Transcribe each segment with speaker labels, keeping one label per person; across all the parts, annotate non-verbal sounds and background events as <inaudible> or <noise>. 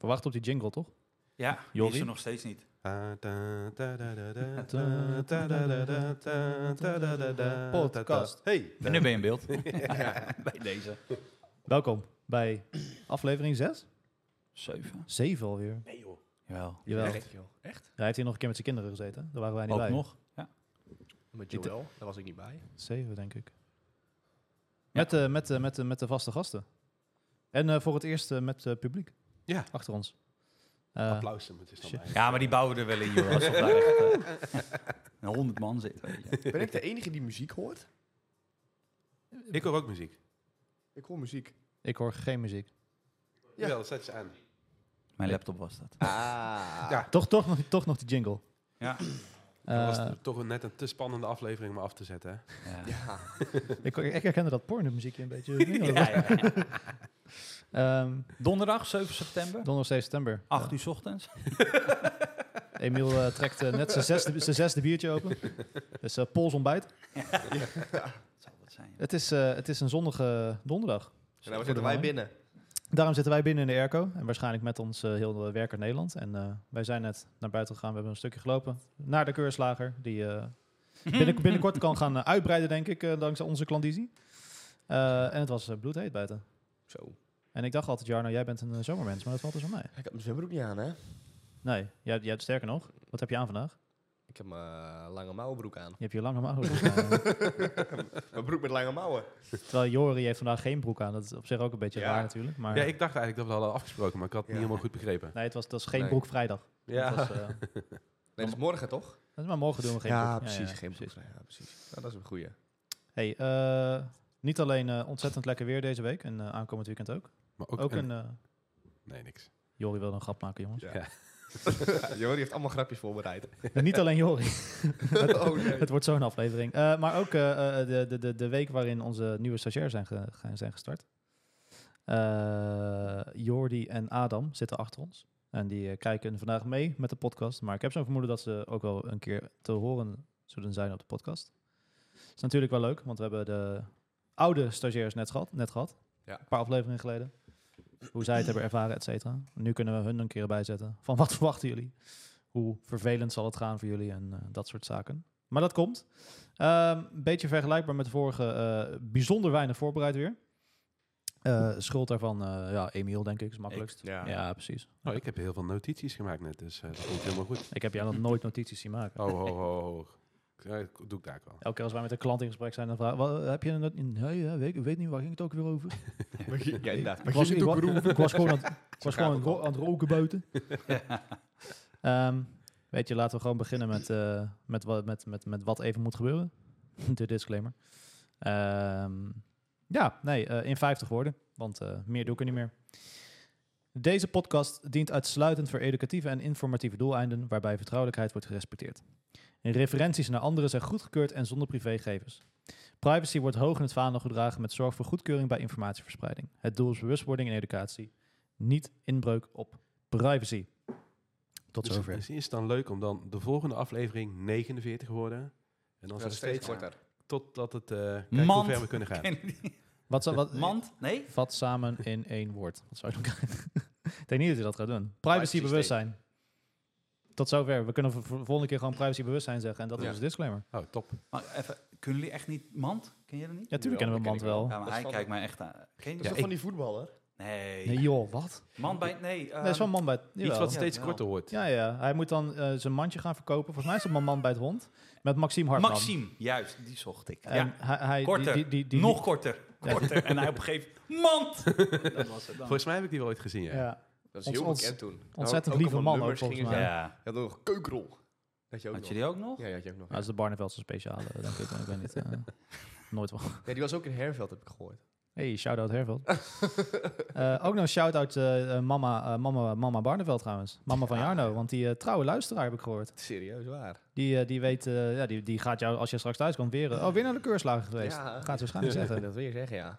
Speaker 1: We wachten op die jingle, toch?
Speaker 2: Ja, die
Speaker 1: Jorrie?
Speaker 2: is er nog steeds niet.
Speaker 1: <laughs> Podcast.
Speaker 3: Hey.
Speaker 2: En nu ben je in <laughs> beeld. Bij deze.
Speaker 1: Welkom bij <clears throat> aflevering 6?
Speaker 2: Zeven.
Speaker 1: 7 alweer.
Speaker 3: Nee joh.
Speaker 2: Jawel.
Speaker 1: Jawel.
Speaker 3: Echt?
Speaker 1: Ja,
Speaker 3: Echt?
Speaker 1: hij heeft hier nog een keer met zijn kinderen gezeten. Daar waren wij niet
Speaker 2: Ook
Speaker 1: bij.
Speaker 2: nog. Ja.
Speaker 3: Met
Speaker 1: Dit-
Speaker 3: Joel, daar was ik niet bij.
Speaker 1: 7, denk ik. Met, eh, met, eh, met, eh, met de vaste gasten. En eh, voor het eerst eh, met eh, publiek.
Speaker 3: Ja.
Speaker 1: Achter ons. Eh,
Speaker 3: Uh, Applaus hem, het is dan
Speaker 1: shit.
Speaker 3: bij.
Speaker 2: ja, maar die bouwen er wel in, joh. Alsof daar echt eh, een honderd man zit. weet je.
Speaker 4: <laughs> Ben ik de enige die muziek hoort?
Speaker 3: Ik hoor ook muziek.
Speaker 4: Ik hoor muziek.
Speaker 1: ik hoor geen muziek.
Speaker 3: Ja, dat zet ze aan.
Speaker 1: Uh,
Speaker 2: Mijn laptop was dat.
Speaker 4: <laughs> Ah.
Speaker 3: Ja.
Speaker 1: Toch, toch, nog- toch nog die jingle.
Speaker 2: Ja.
Speaker 3: Dat was
Speaker 1: Eh,
Speaker 3: het toch een- net een te spannende aflevering om af te zetten.
Speaker 1: Oh,
Speaker 3: hè?
Speaker 2: Ja.
Speaker 4: Nou,
Speaker 1: ik, ik herkende dat porno-muziekje een
Speaker 3: <laughs>
Speaker 1: beetje.
Speaker 2: Ja, ja,
Speaker 1: <laughs>
Speaker 2: ja.
Speaker 1: Ehm,
Speaker 2: Donderdag 7 september.
Speaker 1: donderdag 7 september.
Speaker 2: 8 uur 's ochtends.
Speaker 1: Emiel eh, trekt eh, net zijn zesde, zijn zesde biertje open. Dus eh pols ontbijt.
Speaker 2: Dat zal wat zijn.
Speaker 1: Het is, eh, het is een zonnige donderdag.
Speaker 4: En dan zitten wij binnen.
Speaker 1: Daarom zitten wij binnen in de airco. En waarschijnlijk met ons eh, heel eh, werk uit Nederland. En eh, wij zijn net naar buiten gegaan. We hebben een stukje gelopen naar de keurslager. Die eh, binnen, binnenkort kan gaan eh, uitbreiden, denk ik, eh, dankzij onze klandizie. Eh, en het was eh, bloedheet buiten.
Speaker 4: Zo.
Speaker 1: En ik dacht altijd, Jarno, jij bent een eh, zomermens. Maar dat valt dus aan mij.
Speaker 4: Ik had mijn zwembroek niet aan, hè?
Speaker 1: Nee, jij, jij, sterker nog. Wat heb je aan vandaag?
Speaker 4: Ik heb mijn lange mouwenbroek <laughs> aan.
Speaker 1: Je hebt je lange mouwen. aan.
Speaker 4: Mijn broek met lange mouwen.
Speaker 1: Terwijl Jori heeft vandaag geen broek aan. Dat is op zich ook een beetje
Speaker 4: Ja.
Speaker 1: raar natuurlijk. Maar
Speaker 3: Ja, ik dacht eigenlijk dat we dat hadden afgesproken, maar ik had het
Speaker 4: Ja.
Speaker 3: niet helemaal goed begrepen.
Speaker 1: nee, het was, dat is geen
Speaker 4: Nee.
Speaker 1: broek vrijdag.
Speaker 3: Ja.
Speaker 1: <laughs> Dat was, eh,
Speaker 4: Nee, dat is morgen toch?
Speaker 1: dat is maar morgen doen we geen broek.
Speaker 4: Ja, precies. Nou, dat is een goeie.
Speaker 1: Hey, eh, niet alleen eh, ontzettend lekker weer deze week en eh, aankomend weekend ook.
Speaker 3: Maar ook,
Speaker 1: Ook,
Speaker 3: een-
Speaker 1: een... eh
Speaker 3: Nee, niks.
Speaker 1: Jori wil een grap maken, jongens. <laughs>
Speaker 4: Ja. <laughs> Jordi heeft allemaal grapjes voorbereid.
Speaker 1: En niet alleen Jori.
Speaker 4: <laughs> oh nee.
Speaker 1: het wordt zo'n aflevering. Eh, maar ook eh, eh, de, de, de, de week waarin onze nieuwe stagiairs zijn, ge- ge- zijn gestart. Eh, Jordi en Adam zitten achter ons. En die eh, kijken vandaag mee met de podcast. Maar ik heb zo'n vermoeden dat ze ook wel een keer te horen zullen zijn op de podcast. is natuurlijk wel leuk, want we hebben de oude stagiairs net gehad. Net gehad
Speaker 4: Ja.
Speaker 1: Een paar afleveringen geleden. Hoe zij het hebben ervaren, et cetera. Nu kunnen we hun een keer erbij zetten. Van wat <laughs> verwachten jullie? Hoe vervelend zal het gaan voor jullie? En eh, dat soort zaken. Maar dat komt. Ehm, Een beetje vergelijkbaar met de vorige. eh, bijzonder weinig voorbereid weer. Eh, schuld daarvan, eh, ja, Emiel denk ik, is makkelijkst.
Speaker 4: Ja.
Speaker 1: Ja, precies.
Speaker 3: Oh, ik heb heel veel notities gemaakt net, dus eh, dat komt helemaal goed.
Speaker 1: Ik heb jou nog nooit notities zien maken.
Speaker 3: Oh, ho, ho, ho. Ja, ik- doe ik daar ook wel.
Speaker 1: Elke keer als wij met een klant in gesprek zijn, dan vragen "Wat, heb je een not- Nee, ja, weet, ik weet niet, waar ging het ook weer over?
Speaker 4: Ja, inderdaad.
Speaker 1: Ik was, ik, wa- <laughs> ik was gewoon, aan, het- ik was
Speaker 4: gaat
Speaker 1: gewoon aan,
Speaker 4: het
Speaker 1: het ro- aan het roken buiten. Ehm, weet je, laten we gewoon beginnen met, eh, met, wat, met, met, met wat even moet gebeuren. <laughs> De disclaimer. Ehm, ja, nee, eh, in 50 woorden, want eh, meer doe ik er niet meer. Deze podcast dient uitsluitend voor educatieve en informatieve doeleinden, waarbij vertrouwelijkheid wordt gerespecteerd. Referenties naar anderen zijn goedgekeurd en zonder privégegevens. Privacy wordt hoog in het vaandel gedragen met zorg voor goedkeuring bij informatieverspreiding. Het doel is bewustwording en educatie, niet inbreuk op privacy. Tot
Speaker 3: Dus,
Speaker 1: zover.
Speaker 3: dus is het dan leuk om dan de volgende aflevering 49 worden? En dan
Speaker 4: Dat
Speaker 3: zijn
Speaker 4: is
Speaker 3: we
Speaker 4: steeds
Speaker 3: steeds
Speaker 4: korter.
Speaker 3: totdat het... eh kijk
Speaker 2: Mand.
Speaker 3: hoe ver we kunnen gaan.
Speaker 2: Ken je die?
Speaker 1: Wat, zou- wat,
Speaker 2: Mand? Nee?
Speaker 1: vat samen in één woord. Wat zou je dan <laughs> krijgen? Ik denk niet dat je dat gaat doen. Privacy bewustzijn. Tot zover. We kunnen voor- voor de volgende keer gewoon privacy bewustzijn zeggen. En dat is
Speaker 4: Ja.
Speaker 1: onze disclaimer.
Speaker 3: Oh, top.
Speaker 2: Maar even, kunnen jullie echt niet mand? Ken je dat niet?
Speaker 1: Ja, tuurlijk
Speaker 4: Jawel,
Speaker 1: kennen we Mand
Speaker 4: dat ken ik
Speaker 1: Oh, wel.
Speaker 2: Ja, maar
Speaker 4: is
Speaker 2: hij
Speaker 4: van-
Speaker 2: kijkt mij echt aan. Ken je
Speaker 4: Dat
Speaker 2: die?
Speaker 4: is toch
Speaker 3: ik-
Speaker 4: van die voetballer?
Speaker 2: Nee.
Speaker 1: Nee joh, wat?
Speaker 2: Man bij... Nee.
Speaker 1: Nee, is
Speaker 2: ehm,
Speaker 1: wel man bij het...
Speaker 3: Iets
Speaker 1: jawel.
Speaker 3: wat
Speaker 2: Ja,
Speaker 3: steeds
Speaker 2: wel.
Speaker 3: korter wordt.
Speaker 1: Ja, ja. Hij moet dan eh, zijn mandje gaan verkopen. Volgens mij is dat man, man bij het hond. Met Maxime Hartman.
Speaker 2: Maxime, juist, die zocht ik.
Speaker 1: En
Speaker 2: ja.
Speaker 1: hij, hij, die-
Speaker 2: Korter,
Speaker 1: die- die- die-
Speaker 2: nog korter, <laughs> korter. En hij op een gegeven moment, mand! <laughs> Dat was het dan.
Speaker 3: Volgens mij heb ik die wel ooit gezien, ja.
Speaker 1: Ja.
Speaker 4: Dat is
Speaker 1: Ons-
Speaker 4: heel
Speaker 1: ons-
Speaker 4: bekend toen.
Speaker 1: Ontzettend
Speaker 4: Ook- ook
Speaker 1: lieve
Speaker 4: allemaal
Speaker 1: man ook
Speaker 4: nummers
Speaker 1: volgens
Speaker 4: gingen
Speaker 1: mij. Ja.
Speaker 2: Ja.
Speaker 4: Je had nog keukrol. Dat je ook
Speaker 2: Had
Speaker 4: nog.
Speaker 2: je die ook nog?
Speaker 4: Ja, die had je ook nog.
Speaker 1: Nou, Dat is de Barneveldse speciale, denk ik. Ik weet niet.
Speaker 4: <laughs>
Speaker 1: eh, nooit wel.
Speaker 4: Ja, die was ook in Herveld, heb ik gehoord.
Speaker 1: Hey, shout-out Herveld.
Speaker 4: <laughs>
Speaker 1: Eh, ook nog een shout-out eh, eh, mama, eh, mama, mama Barneveld trouwens. Mama van Jarno, want die eh, trouwe luisteraar heb ik gehoord.
Speaker 4: Serieus waar.
Speaker 1: Die, eh, die weet, eh, ja, die, die gaat jou, als je straks thuis komt, weer... eh, oh, weer naar de keurslager geweest.
Speaker 4: Ja.
Speaker 1: Gaat ze waarschijnlijk zeggen.
Speaker 4: <laughs> Dat wil je zeggen, ja.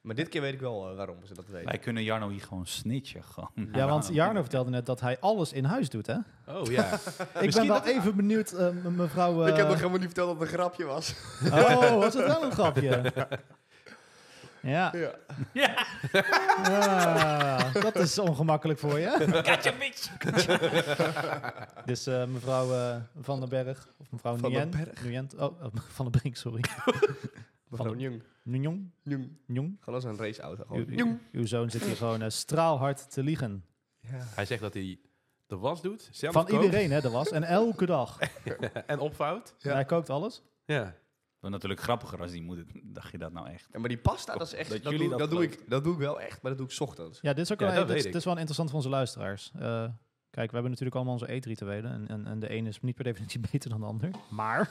Speaker 4: Maar dit keer weet ik wel eh, waarom ze dat weten.
Speaker 2: Wij kunnen Jarno hier gewoon snitchen. Gewoon.
Speaker 1: Ja,
Speaker 2: <laughs>
Speaker 1: want Jarno vertelde net dat hij alles in huis doet, hè?
Speaker 3: Oh, <laughs> ja.
Speaker 1: Ik ben wel even benieuwd, eh, me- mevrouw... eh,
Speaker 4: Ik heb nog helemaal niet verteld dat het een grapje was.
Speaker 1: Oh, was het wel een grapje? Ja.
Speaker 4: <laughs> Ja.
Speaker 2: Ja,
Speaker 1: Ah. dat is ongemakkelijk voor je.
Speaker 2: Katja, bitch! <laughs>
Speaker 1: Dus eh, mevrouw eh, Van den Berg, of mevrouw
Speaker 4: Van den
Speaker 1: Nguyen. Nguyen oh, <laughs> oh, Van den Brink, sorry.
Speaker 4: Mevrouw Njung.
Speaker 1: Nguyen,
Speaker 4: Njung.
Speaker 1: Nguyen.
Speaker 4: Gewoon als een raceauto.
Speaker 3: Oh,
Speaker 1: Uw,
Speaker 4: Gewoon.
Speaker 1: uw, uw zoon zit hier gewoon eh, straalhard te liegen.
Speaker 4: Ja.
Speaker 3: Hij zegt dat hij de was doet, zelf
Speaker 1: Van
Speaker 3: kookt
Speaker 1: iedereen, hè, dat was. En elke
Speaker 3: <laughs>
Speaker 1: dag.
Speaker 3: en opvouwt.
Speaker 4: Ja.
Speaker 1: Hij kookt alles.
Speaker 3: Ja.
Speaker 2: Wat natuurlijk grappiger als die moeder. Dacht je dat nou echt?
Speaker 4: Ja, maar die pasta, dat is echt.
Speaker 2: Dat
Speaker 4: Dat,
Speaker 2: jullie
Speaker 4: doe,
Speaker 2: dat
Speaker 4: dat, doe ik, dat doe ik wel echt, maar dat doe ik 's ochtends.
Speaker 1: Ja, dit is ook
Speaker 3: Ja,
Speaker 1: wel,
Speaker 3: dat
Speaker 1: dit, is-
Speaker 3: weet ik.
Speaker 1: dit is wel interessant voor onze luisteraars. Eh, kijk, we hebben natuurlijk allemaal onze eetrituelen. En, en, en de ene is niet per definitie <laughs> beter dan de ander. Maar <laughs>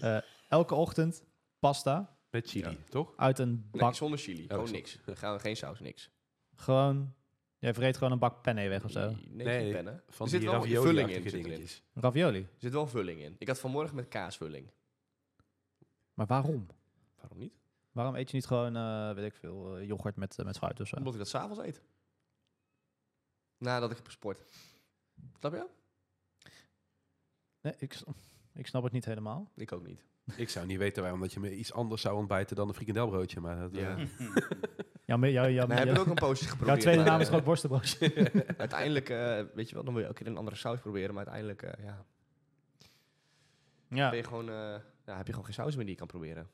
Speaker 1: eh, elke ochtend pasta
Speaker 3: Met chili, toch?
Speaker 1: uit een
Speaker 4: Nee,
Speaker 1: bak.
Speaker 4: zonder chili. gewoon
Speaker 3: zo.
Speaker 4: niks. Gaan, geen saus, niks.
Speaker 1: Gewoon, jij vreet gewoon een bak penne weg of zo.
Speaker 4: Nee,
Speaker 3: Nee,
Speaker 4: geen pennen.
Speaker 3: Van
Speaker 4: er zit
Speaker 3: die
Speaker 4: wel vulling in.
Speaker 3: ravioli-achtige
Speaker 4: Zit erin.
Speaker 3: dingetjes.
Speaker 1: Ravioli.
Speaker 4: Er zit wel vulling in. Ik had vanmorgen met kaasvulling.
Speaker 1: Maar waarom?
Speaker 4: Waarom niet?
Speaker 1: Waarom eet je niet gewoon, eh, weet ik veel, eh, yoghurt met, eh, met fruit of zo?
Speaker 4: Omdat ik dat s'avonds eet. Nadat ik heb gesport. Snap je?
Speaker 1: Nee, ik, s- ik snap het niet helemaal.
Speaker 4: Ik ook niet.
Speaker 3: Ik zou niet weten waarom dat je me iets anders zou ontbijten dan een frikandelbroodje. Maar dat,
Speaker 2: <laughs>
Speaker 3: eh,
Speaker 4: Ja.
Speaker 1: Jouw, me- jouw, jouw,
Speaker 4: Nou, heb ik
Speaker 1: jouw,
Speaker 4: ook een
Speaker 1: <laughs>
Speaker 4: poosje geprobeerd.
Speaker 1: jouw tweede
Speaker 4: maar,
Speaker 1: naam is
Speaker 4: <laughs> eh,
Speaker 1: gewoon worstenbroodje.
Speaker 4: Uiteindelijk, eh, weet je wel, dan wil je ook een andere saus proberen. Maar uiteindelijk, eh, ja,
Speaker 1: ja.
Speaker 4: ben je gewoon, eh, ja, heb je gewoon geen saus meer die je kan proberen.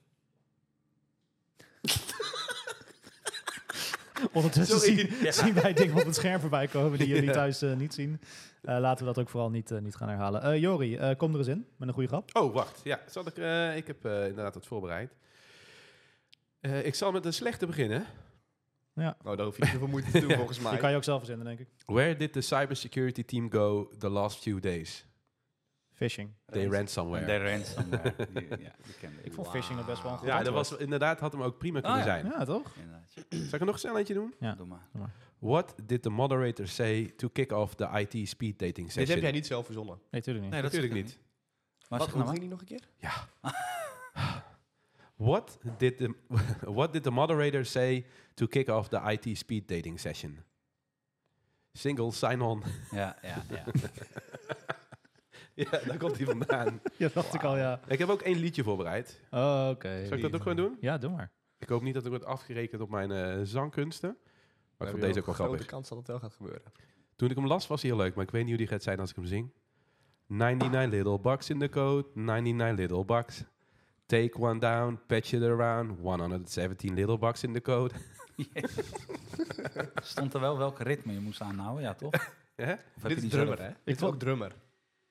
Speaker 1: Ondertussen
Speaker 4: Sorry.
Speaker 1: zien, zien wij dingen op het scherm voorbij komen die jullie thuis eh, niet zien. Eh, laten we dat ook vooral niet, eh, niet gaan herhalen. Eh Jori, eh, kom er eens in met een goede grap.
Speaker 3: Oh, wacht. Ja, zal ik, eh, ik heb eh, inderdaad wat voorbereid. Eh, ik zal met een slechte beginnen.
Speaker 4: Nou, daar hoef je niet zoveel moeite te
Speaker 1: <laughs>
Speaker 4: doen volgens mij.
Speaker 1: Die kan je ook zelf verzinnen, denk ik.
Speaker 3: Where did the cybersecurity team go the last few days?
Speaker 1: Phishing.
Speaker 3: They ran somewhere.
Speaker 2: De ransomware. Die- ja, die kende ik.
Speaker 1: Ik vond phishing nog best wel een goed
Speaker 3: ja, dat
Speaker 1: antwoord.
Speaker 3: was, Ah, inderdaad had hem ook prima kunnen
Speaker 2: ja.
Speaker 3: zijn.
Speaker 1: Ja, toch?
Speaker 2: Inderdaad, ja.
Speaker 3: Zal ik er nog snel eentje doen?
Speaker 1: Ja.
Speaker 2: Doe maar.
Speaker 3: What did the moderator say to kick off the IT speed dating
Speaker 4: Dit
Speaker 3: session?
Speaker 4: heb jij niet zelf verzonnen.
Speaker 1: Nee, tuurlijk <laughs> niet.
Speaker 2: Nee, dat
Speaker 3: Natuurlijk
Speaker 2: is-
Speaker 3: niet.
Speaker 2: Maar
Speaker 4: Wat,
Speaker 2: zeg nou
Speaker 4: hoe
Speaker 2: maar.
Speaker 4: ging die nog een keer?
Speaker 3: What did, the, <laughs> what did the moderator say to kick off the IT speed dating session? Single sign-on.
Speaker 2: Ja, ja, ja.
Speaker 3: <laughs> ja, daar komt hij vandaan.
Speaker 1: Ja, dacht ik al, ja.
Speaker 3: ik heb ook één liedje voorbereid.
Speaker 1: Oh, Oké.
Speaker 3: Zal ik dat ook gewoon doen?
Speaker 1: Ja, doe maar.
Speaker 3: Ik hoop niet dat ik word afgerekend op mijn eh, zangkunsten. Maar ik vond deze ook wel
Speaker 4: grote
Speaker 3: grappig.
Speaker 4: kans dat het wel gaat gebeuren.
Speaker 3: Toen ik hem las was hij heel leuk, maar ik weet niet hoe die gaat zijn als ik hem zing. 99 little bucks in the code, 99 little bucks. Take one down, patch it around, 117 little bucks in the code. <laughs>
Speaker 2: Stond er wel welk ritme je moest aanhouden, ja toch?
Speaker 3: Hè? ja,
Speaker 4: <laughs>
Speaker 2: Of heb je
Speaker 4: Dit is
Speaker 2: die
Speaker 4: drummer,
Speaker 2: zelf?
Speaker 4: hè? Dit is ook drummer.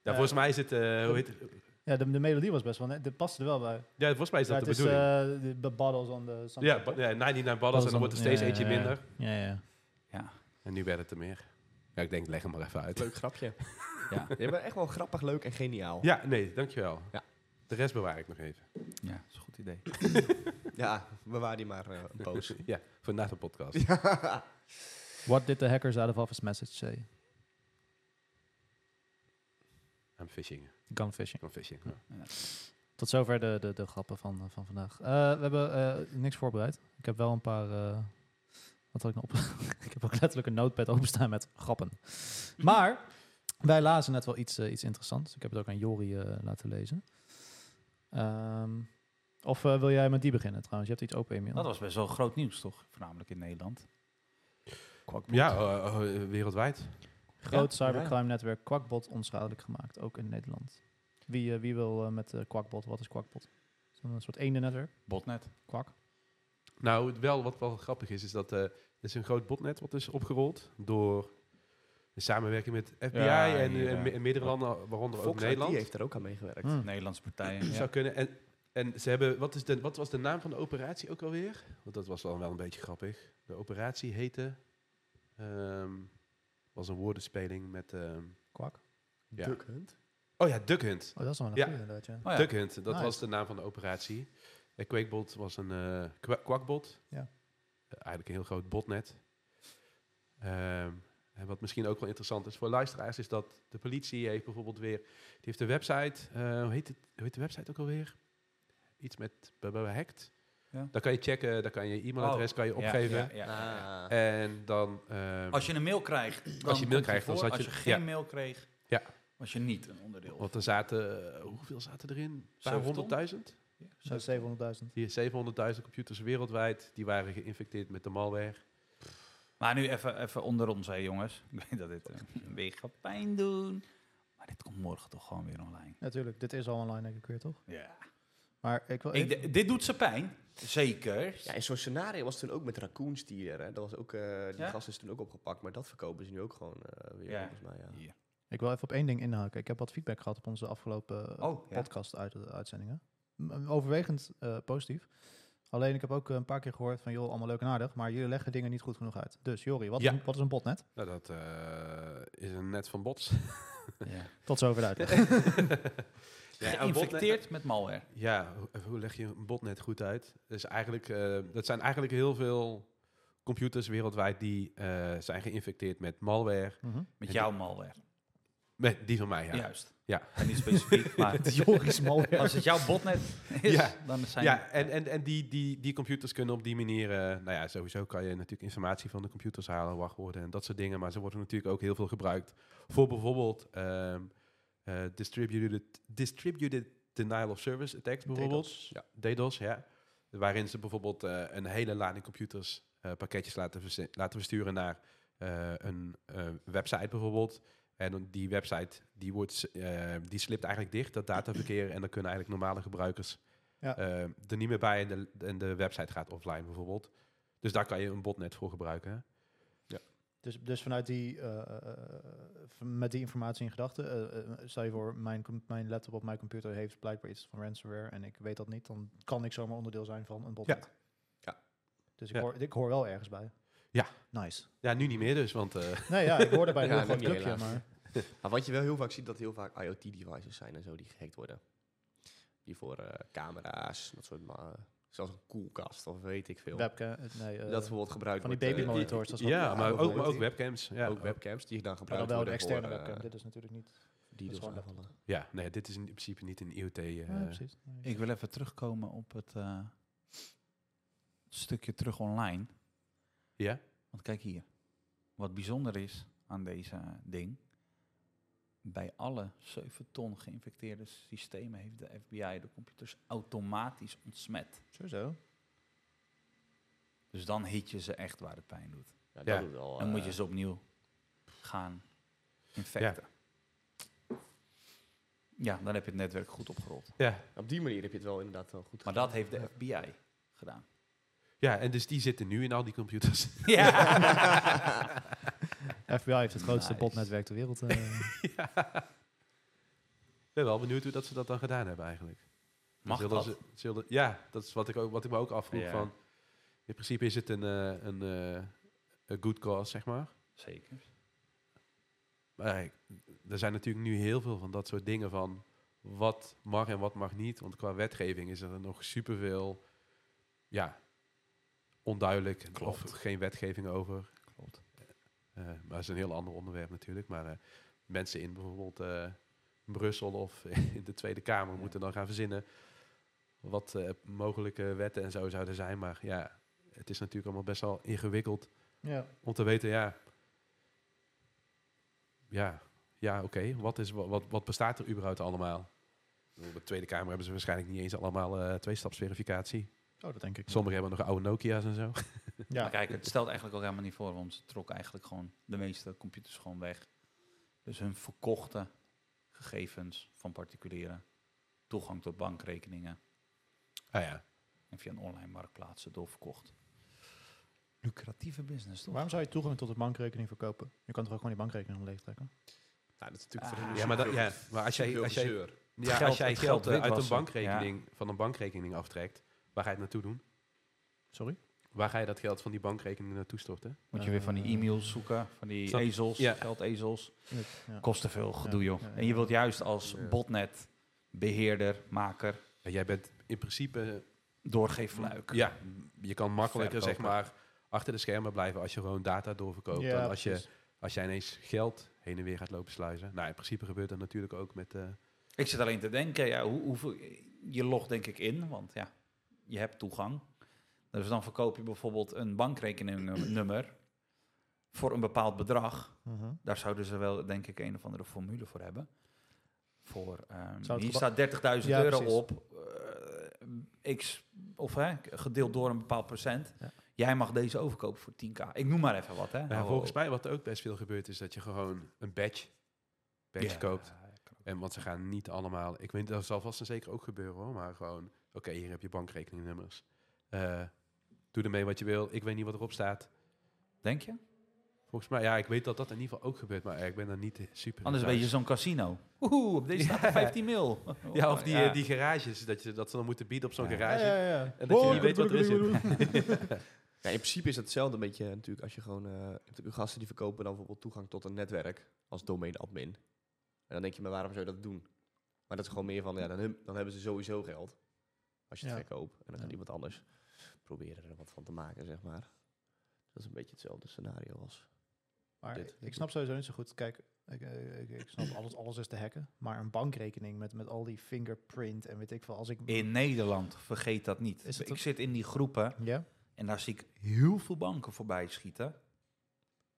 Speaker 3: volgens mij is het, eh, hoe heet het?
Speaker 1: Ja, de, de melodie was best wel net. Dat paste er wel bij.
Speaker 3: Ja, volgens mij is
Speaker 1: Ja,
Speaker 3: dat
Speaker 1: het
Speaker 3: de
Speaker 1: is
Speaker 3: bedoeling.
Speaker 1: eh, de de bottles on the...
Speaker 3: ja, ba- ja, 99 ballen en dan wordt er steeds
Speaker 1: Ja,
Speaker 3: eentje
Speaker 1: ja, ja.
Speaker 3: minder.
Speaker 1: Ja, ja, ja.
Speaker 3: En nu werd het er meer. Ja, ik denk, leg hem maar even uit.
Speaker 4: Leuk grapje.
Speaker 2: Ja.
Speaker 4: Je bent echt wel grappig, leuk en geniaal.
Speaker 3: Ja, nee, dankjewel.
Speaker 4: Ja.
Speaker 3: De rest bewaar ik nog even.
Speaker 2: Ja, dat is een goed idee.
Speaker 4: Ja, bewaar die maar eh, een
Speaker 3: <laughs>
Speaker 4: poos.
Speaker 3: Ja, voor na de podcast.
Speaker 4: Ja.
Speaker 1: What did the hackers out of office message say?
Speaker 3: I'm fishing.
Speaker 1: Gun phishing.
Speaker 3: I'm fishing.
Speaker 1: Tot zover de, de, de grappen van, eh, van vandaag. Eh, we hebben eh, niks voorbereid. Ik heb wel een paar. eh, wat had ik nou op? <laughs> ik heb ook letterlijk een notepad openstaan met grappen. Maar wij lazen net wel iets, eh, iets interessants. Ik heb het ook aan Jori eh, laten lezen. Ehm, of eh, wil jij met die beginnen trouwens? Je hebt iets open, Emiel.
Speaker 2: Dat was best wel groot nieuws, toch? Voornamelijk in Nederland.
Speaker 3: Ja, eh, eh, wereldwijd.
Speaker 1: Groot
Speaker 4: Ja, ja.
Speaker 1: cybercrime-netwerk Quackbot onschadelijk gemaakt, ook in Nederland. Wie, eh, wie wil eh, met eh, Quackbot? Wat is Quackbot? Is dat Een soort eendennetwerk?
Speaker 2: Botnet.
Speaker 1: Quack.
Speaker 3: Nou, het wel, wat wel grappig is, is dat eh, er is een groot botnet wat is opgerold door de samenwerking met FBI
Speaker 2: Ja,
Speaker 3: en,
Speaker 2: hier,
Speaker 3: eh, me-
Speaker 2: ja.
Speaker 3: en meerdere landen, waaronder ook
Speaker 4: Fox IT
Speaker 3: Nederland.
Speaker 4: heeft er ook aan meegewerkt.
Speaker 1: Hmm.
Speaker 2: Nederlandse partijen.
Speaker 3: Zou kunnen. En, en ze hebben, wat, is de, wat was de naam van de operatie ook alweer? Want dat was dan wel een beetje grappig. De operatie heette, ehm, was een woordenspeling met, ehm,
Speaker 1: Quack.
Speaker 3: Ja.
Speaker 4: Duck Hunt.
Speaker 3: oh ja, Duck Hunt.
Speaker 1: Oh, dat is wel een
Speaker 3: Ja.
Speaker 1: goeie inderdaad, ja.
Speaker 2: Oh ja.
Speaker 3: Duck Hunt, dat
Speaker 1: Nice.
Speaker 3: was de naam van de operatie. En Quakebot was een eh kwa- kwakbot.
Speaker 1: Ja.
Speaker 3: Eh, eigenlijk een heel groot botnet. Ehm, en wat misschien ook wel interessant is voor luisteraars, is dat de politie heeft bijvoorbeeld weer... Die heeft een website, eh, hoe, heet het, hoe heet de website ook alweer? Iets met b- b- hacked.
Speaker 2: Ja.
Speaker 3: Daar kan je checken, daar kan je e-mailadres kan je
Speaker 2: Oh. Ja,
Speaker 3: opgeven.
Speaker 2: ja, ja, ja, ja.
Speaker 4: Ah.
Speaker 3: En dan... ehm,
Speaker 2: Als je een mail krijgt. dan
Speaker 3: mail
Speaker 2: komt die
Speaker 3: krijgt, dan
Speaker 2: voor.
Speaker 3: zat
Speaker 2: Als
Speaker 3: je-
Speaker 2: je geen
Speaker 3: ja.
Speaker 2: mail kreeg,
Speaker 3: Ja.
Speaker 2: was je niet een onderdeel.
Speaker 3: want er zaten, eh, hoeveel zaten erin? Een paar
Speaker 2: Zeven ton?
Speaker 3: honderdduizend?
Speaker 1: Zo
Speaker 2: dus-
Speaker 1: 700.000.
Speaker 3: Die 700.000 computers wereldwijd, die waren geïnfecteerd met de malware.
Speaker 2: Maar nu even, even onder ons, hè, jongens. <laughs> Ik weet dat dit eh, weer gaat pijn doen. Maar dit komt morgen toch gewoon weer online.
Speaker 1: Natuurlijk, dit is al online denk ik weer, toch?
Speaker 2: Ja.
Speaker 1: Maar ik wil
Speaker 2: Ik,
Speaker 1: even-
Speaker 2: d- dit doet ze pijn. Zeker.
Speaker 4: Ja, in zo'n scenario was toen ook met raccoons die er, hè. Dat was ook, eh, die
Speaker 2: Ja?
Speaker 4: gast is toen ook opgepakt, maar dat verkopen ze nu ook gewoon eh, weer,
Speaker 2: Ja.
Speaker 4: volgens mij, ja.
Speaker 2: Ja.
Speaker 1: Ik wil even op één ding inhaken. Ik heb wat feedback gehad op onze afgelopen eh,
Speaker 2: Oh, ja.
Speaker 1: podcast-uitzendingen. Overwegend eh, positief. Alleen ik heb ook eh, een paar keer gehoord van... joh, allemaal leuk en aardig, maar jullie leggen dingen niet goed genoeg uit. Dus Jori, wat,
Speaker 3: Ja.
Speaker 1: is, een- wat is een botnet?
Speaker 3: Nou, dat eh, is een net van bots.
Speaker 2: Ja.
Speaker 1: Tot zover de uitleg.
Speaker 3: Ja, een botnet-
Speaker 2: Geïnfecteerd met malware.
Speaker 3: Ja, hoe, hoe leg je een botnet goed uit? Dus eigenlijk, eh, dat zijn eigenlijk heel veel computers wereldwijd die eh, zijn geïnfecteerd met malware.
Speaker 1: Mhm.
Speaker 2: Met
Speaker 3: En
Speaker 2: jouw malware.
Speaker 3: Met die van mij, ja.
Speaker 2: Juist.
Speaker 3: Ja.
Speaker 2: En niet
Speaker 3: <laughs>
Speaker 2: specifiek, maar
Speaker 1: Joris malware.
Speaker 2: als het jouw botnet is,
Speaker 3: Ja.
Speaker 2: dan zijn...
Speaker 3: Ja, en, en, en die, die, die computers kunnen op die manier... eh, nou ja, sowieso kan je natuurlijk informatie van de computers halen, wachtwoorden en dat soort dingen. Maar ze worden natuurlijk ook heel veel gebruikt voor bijvoorbeeld ehm, eh, distributed, distributed denial of service attacks bijvoorbeeld.
Speaker 1: DDoS.
Speaker 3: Ja, DDoS, ja. Waarin ze bijvoorbeeld eh, een hele lading computers eh, pakketjes laten, verzi- laten versturen naar eh, een eh, website bijvoorbeeld. En dan die website die, wordt, s- eh, die slipt eigenlijk dicht, dat dataverkeer. en dan kunnen eigenlijk normale gebruikers
Speaker 1: Ja.
Speaker 3: eh, er niet meer bij. En de, en de website gaat offline bijvoorbeeld. Dus daar kan je een botnet voor gebruiken. hè.
Speaker 1: Dus, dus vanuit die, eh, eh, van- met die informatie in gedachten, eh, eh, stel je voor, mijn, com- mijn laptop op mijn computer heeft blijkbaar iets van ransomware en ik weet dat niet, dan kan ik zomaar onderdeel zijn van een botnet.
Speaker 4: Ja.
Speaker 1: Dus ik,
Speaker 3: Ja.
Speaker 1: hoor, ik hoor wel ergens bij.
Speaker 3: Ja.
Speaker 1: Nice.
Speaker 3: Ja, nu niet meer dus, want... eh,
Speaker 1: Nee, ja, ik hoorde
Speaker 4: <laughs>
Speaker 1: bij een
Speaker 4: Ja,
Speaker 1: heel groot
Speaker 4: dat niet
Speaker 1: clubje,
Speaker 4: helaas.
Speaker 1: maar
Speaker 4: Maar wat je wel heel vaak ziet, dat heel vaak IoT-devices zijn en zo die gehackt worden. Die voor eh, camera's, dat soort, ma- zelfs een koelkast of weet ik veel.
Speaker 1: webcam, nee, eh,
Speaker 4: dat bijvoorbeeld gebruikt
Speaker 1: van die
Speaker 4: wordt, eh,
Speaker 1: babymonitors, dat is wat-
Speaker 3: <laughs> ja, maar
Speaker 4: ook
Speaker 3: ook,
Speaker 4: wel
Speaker 3: maar ook
Speaker 4: die-
Speaker 3: webcams. Ja,
Speaker 4: ook webcams die dan
Speaker 1: maar dan
Speaker 4: gebruikt
Speaker 1: wel de
Speaker 4: worden
Speaker 1: externe
Speaker 4: voor, eh,
Speaker 1: webcam, dit is natuurlijk niet.
Speaker 4: die
Speaker 1: Dat is
Speaker 4: dus
Speaker 1: gewoon
Speaker 4: aanvallen.
Speaker 3: Oh, ja, nee, dit is in principe niet een IoT. eh,
Speaker 1: Ja, precies. Nee.
Speaker 2: Ik wil even terugkomen op het eh, stukje terug online.
Speaker 3: Ja?
Speaker 2: Want kijk hier. Wat bijzonder is aan deze ding. Bij alle 7 ton geïnfecteerde systemen heeft de FBI de computers automatisch ontsmet.
Speaker 1: Sowieso.
Speaker 2: Dus dan hit je ze echt waar het pijn doet.
Speaker 4: Ja, dat
Speaker 3: Oh, Ja.
Speaker 4: doet wel,
Speaker 2: Dan
Speaker 4: eh,
Speaker 2: moet je ze opnieuw gaan infecten. Ja, dan heb je het netwerk goed opgerold.
Speaker 3: ja.
Speaker 4: Op die manier heb je het wel inderdaad wel goed
Speaker 2: Maar dat heeft de FBI gedaan.
Speaker 3: ja, en dus die zitten nu in al die computers.
Speaker 2: Ja.
Speaker 1: FBI heeft het grootste
Speaker 2: Nice.
Speaker 1: botnetwerk ter wereld.
Speaker 4: <laughs>
Speaker 1: eh.
Speaker 3: Ik ben wel benieuwd hoe dat ze dat dan gedaan hebben eigenlijk.
Speaker 2: <laughs> Mag
Speaker 3: zullen
Speaker 2: dat?
Speaker 3: Ze, zullen, ja, dat is wat ik, ook, wat ik me ook afvroeg.
Speaker 2: Ja.
Speaker 3: Van, in principe is het een, eh, een, eh, een good cause, zeg maar.
Speaker 2: Zeker.
Speaker 3: Maar ja, er zijn natuurlijk nu heel veel van dat soort dingen van wat mag en wat mag niet. Want qua wetgeving is er nog superveel ja, onduidelijk en
Speaker 2: Klopt.
Speaker 3: of geen wetgeving over.
Speaker 2: Klopt.
Speaker 3: Eh, maar dat is een heel ander onderwerp natuurlijk. Maar eh, mensen in bijvoorbeeld eh, Brussel of <laughs> in de Tweede Kamer
Speaker 2: Ja.
Speaker 3: moeten dan gaan verzinnen wat eh, mogelijke wetten en zo zouden zijn. Maar ja, het is natuurlijk allemaal best wel ingewikkeld
Speaker 1: ja.
Speaker 3: om te weten, ja. Ja, ja oké. Wat, is wa- wat, wat bestaat er überhaupt allemaal? Ik bedoel, De Tweede Kamer hebben ze waarschijnlijk niet eens allemaal eh tweestapsverificatie.
Speaker 1: Oh, dat denk ik. niet.
Speaker 3: Sommigen hebben nog oude Nokia's en zo.
Speaker 1: Ja.
Speaker 2: Maar kijk, het stelt eigenlijk ook helemaal niet voor, want ze trokken eigenlijk gewoon de meeste computers gewoon weg. Dus hun verkochte gegevens van particulieren, toegang tot bankrekeningen
Speaker 3: Ah ja.
Speaker 2: en via een online marktplaats doorverkocht. Lucratieve business, toch?
Speaker 1: Waarom zou je toegang tot de bankrekening verkopen? Je kan toch ook gewoon die bankrekening omleeg trekken?
Speaker 4: Ja, Nou, dat is natuurlijk
Speaker 2: Ah.
Speaker 4: voor hen
Speaker 3: Ja, maar, dat,
Speaker 4: superveel-
Speaker 3: ja, maar als jij,
Speaker 4: superveel
Speaker 3: als jij,
Speaker 4: gezeur.
Speaker 3: ja,
Speaker 2: Geld-
Speaker 3: als jij
Speaker 2: het
Speaker 3: geld
Speaker 2: geld
Speaker 3: eh, uit een
Speaker 2: witwassen,
Speaker 3: bankrekening, van een bankrekening aftrekt, waar ga je het naartoe doen?
Speaker 1: Sorry?
Speaker 3: Waar ga je dat geld van die bankrekening naartoe storten?
Speaker 2: Moet je weer van die e-mails zoeken, van die
Speaker 3: Snap-
Speaker 2: ezels,
Speaker 3: ja.
Speaker 2: geldezels.
Speaker 1: Ja.
Speaker 2: Kost te veel gedoe,
Speaker 1: Ja,
Speaker 2: joh.
Speaker 1: ja, ja.
Speaker 2: En je wilt juist als
Speaker 4: Ja.
Speaker 2: botnet, beheerder, maker,
Speaker 3: En jij bent in principe...
Speaker 2: doorgeefluik.
Speaker 3: Ja, je kan makkelijker zeg
Speaker 2: Verkoper.
Speaker 3: maar achter de schermen blijven als je gewoon data doorverkoopt. dan als je
Speaker 1: precies.
Speaker 3: Als jij ineens geld heen en weer gaat lopen sluizen. Nou, in principe gebeurt dat natuurlijk ook met... eh,
Speaker 2: Ik zit alleen te denken, ja, hoe, hoeveel, je logt denk ik in, want ja, je hebt toegang. Dus dan verkoop je bijvoorbeeld een bankrekeningnummer voor een bepaald bedrag.
Speaker 1: Mhm.
Speaker 2: Daar zouden ze wel denk ik een of andere formule voor hebben. Voor, ehm,
Speaker 1: Zou het
Speaker 2: hier
Speaker 1: geba-
Speaker 2: staat 30.000
Speaker 1: Ja,
Speaker 2: euro
Speaker 1: precies.
Speaker 2: op, eh, x, of hè, gedeeld door een bepaald procent.
Speaker 1: Ja.
Speaker 2: Jij mag deze overkopen voor 10k. Ik noem maar even wat, hè? Nou,
Speaker 3: Ja,
Speaker 2: Hallo.
Speaker 3: volgens mij wat er ook best veel gebeurt is dat je gewoon een badge, badge
Speaker 2: Ja,
Speaker 3: koopt. En want ze gaan niet allemaal. Ik weet dat zal vast en zeker ook gebeuren hoor. Maar gewoon, oké, hier heb je bankrekeningnummers. Eh, doe ermee wat je wil. Ik weet niet wat erop staat.
Speaker 2: Denk je?
Speaker 3: Volgens mij, ja, ik weet dat dat in ieder geval ook gebeurt. Maar eh, ik ben daar niet eh, super. in
Speaker 2: Anders
Speaker 3: thuis.
Speaker 2: ben je zo'n casino. Oeh, op deze staat er 15 mil.
Speaker 3: Ja, of die,
Speaker 2: <laughs> Ja.
Speaker 3: eh, die garages. Dat, je, dat ze dan moeten bieden op zo'n
Speaker 2: Ja. Eh,
Speaker 3: garage.
Speaker 1: ja. Oh,
Speaker 3: En dat je niet weet wat er is. <laughs>
Speaker 4: Ja, in principe is het hetzelfde een beetje natuurlijk als je gewoon... eh, je hebt natuurlijk gasten die verkopen dan bijvoorbeeld toegang tot een netwerk als domein-admin. En dan denk je, maar waarom zou je dat doen? Maar dat is gewoon meer van, ja, dan, hem- dan hebben ze sowieso geld. Als je het
Speaker 1: Ja.
Speaker 4: verkoopt. En dan
Speaker 1: Ja.
Speaker 4: kan iemand anders proberen er wat van te maken, zeg maar. Dat is een beetje hetzelfde scenario als...
Speaker 1: Maar
Speaker 4: Dit.
Speaker 1: ik snap sowieso niet zo goed. Kijk, ik, eh, ik, ik
Speaker 3: <clears throat>
Speaker 1: snap alles, alles is te hacken. Maar een bankrekening met, met al die fingerprint en weet ik veel. Als ik.
Speaker 2: In Nederland, vergeet dat niet.
Speaker 1: Is het
Speaker 2: ik
Speaker 1: ook-
Speaker 2: zit in die groepen
Speaker 1: Ja?
Speaker 2: en daar zie ik heel veel banken voorbij schieten.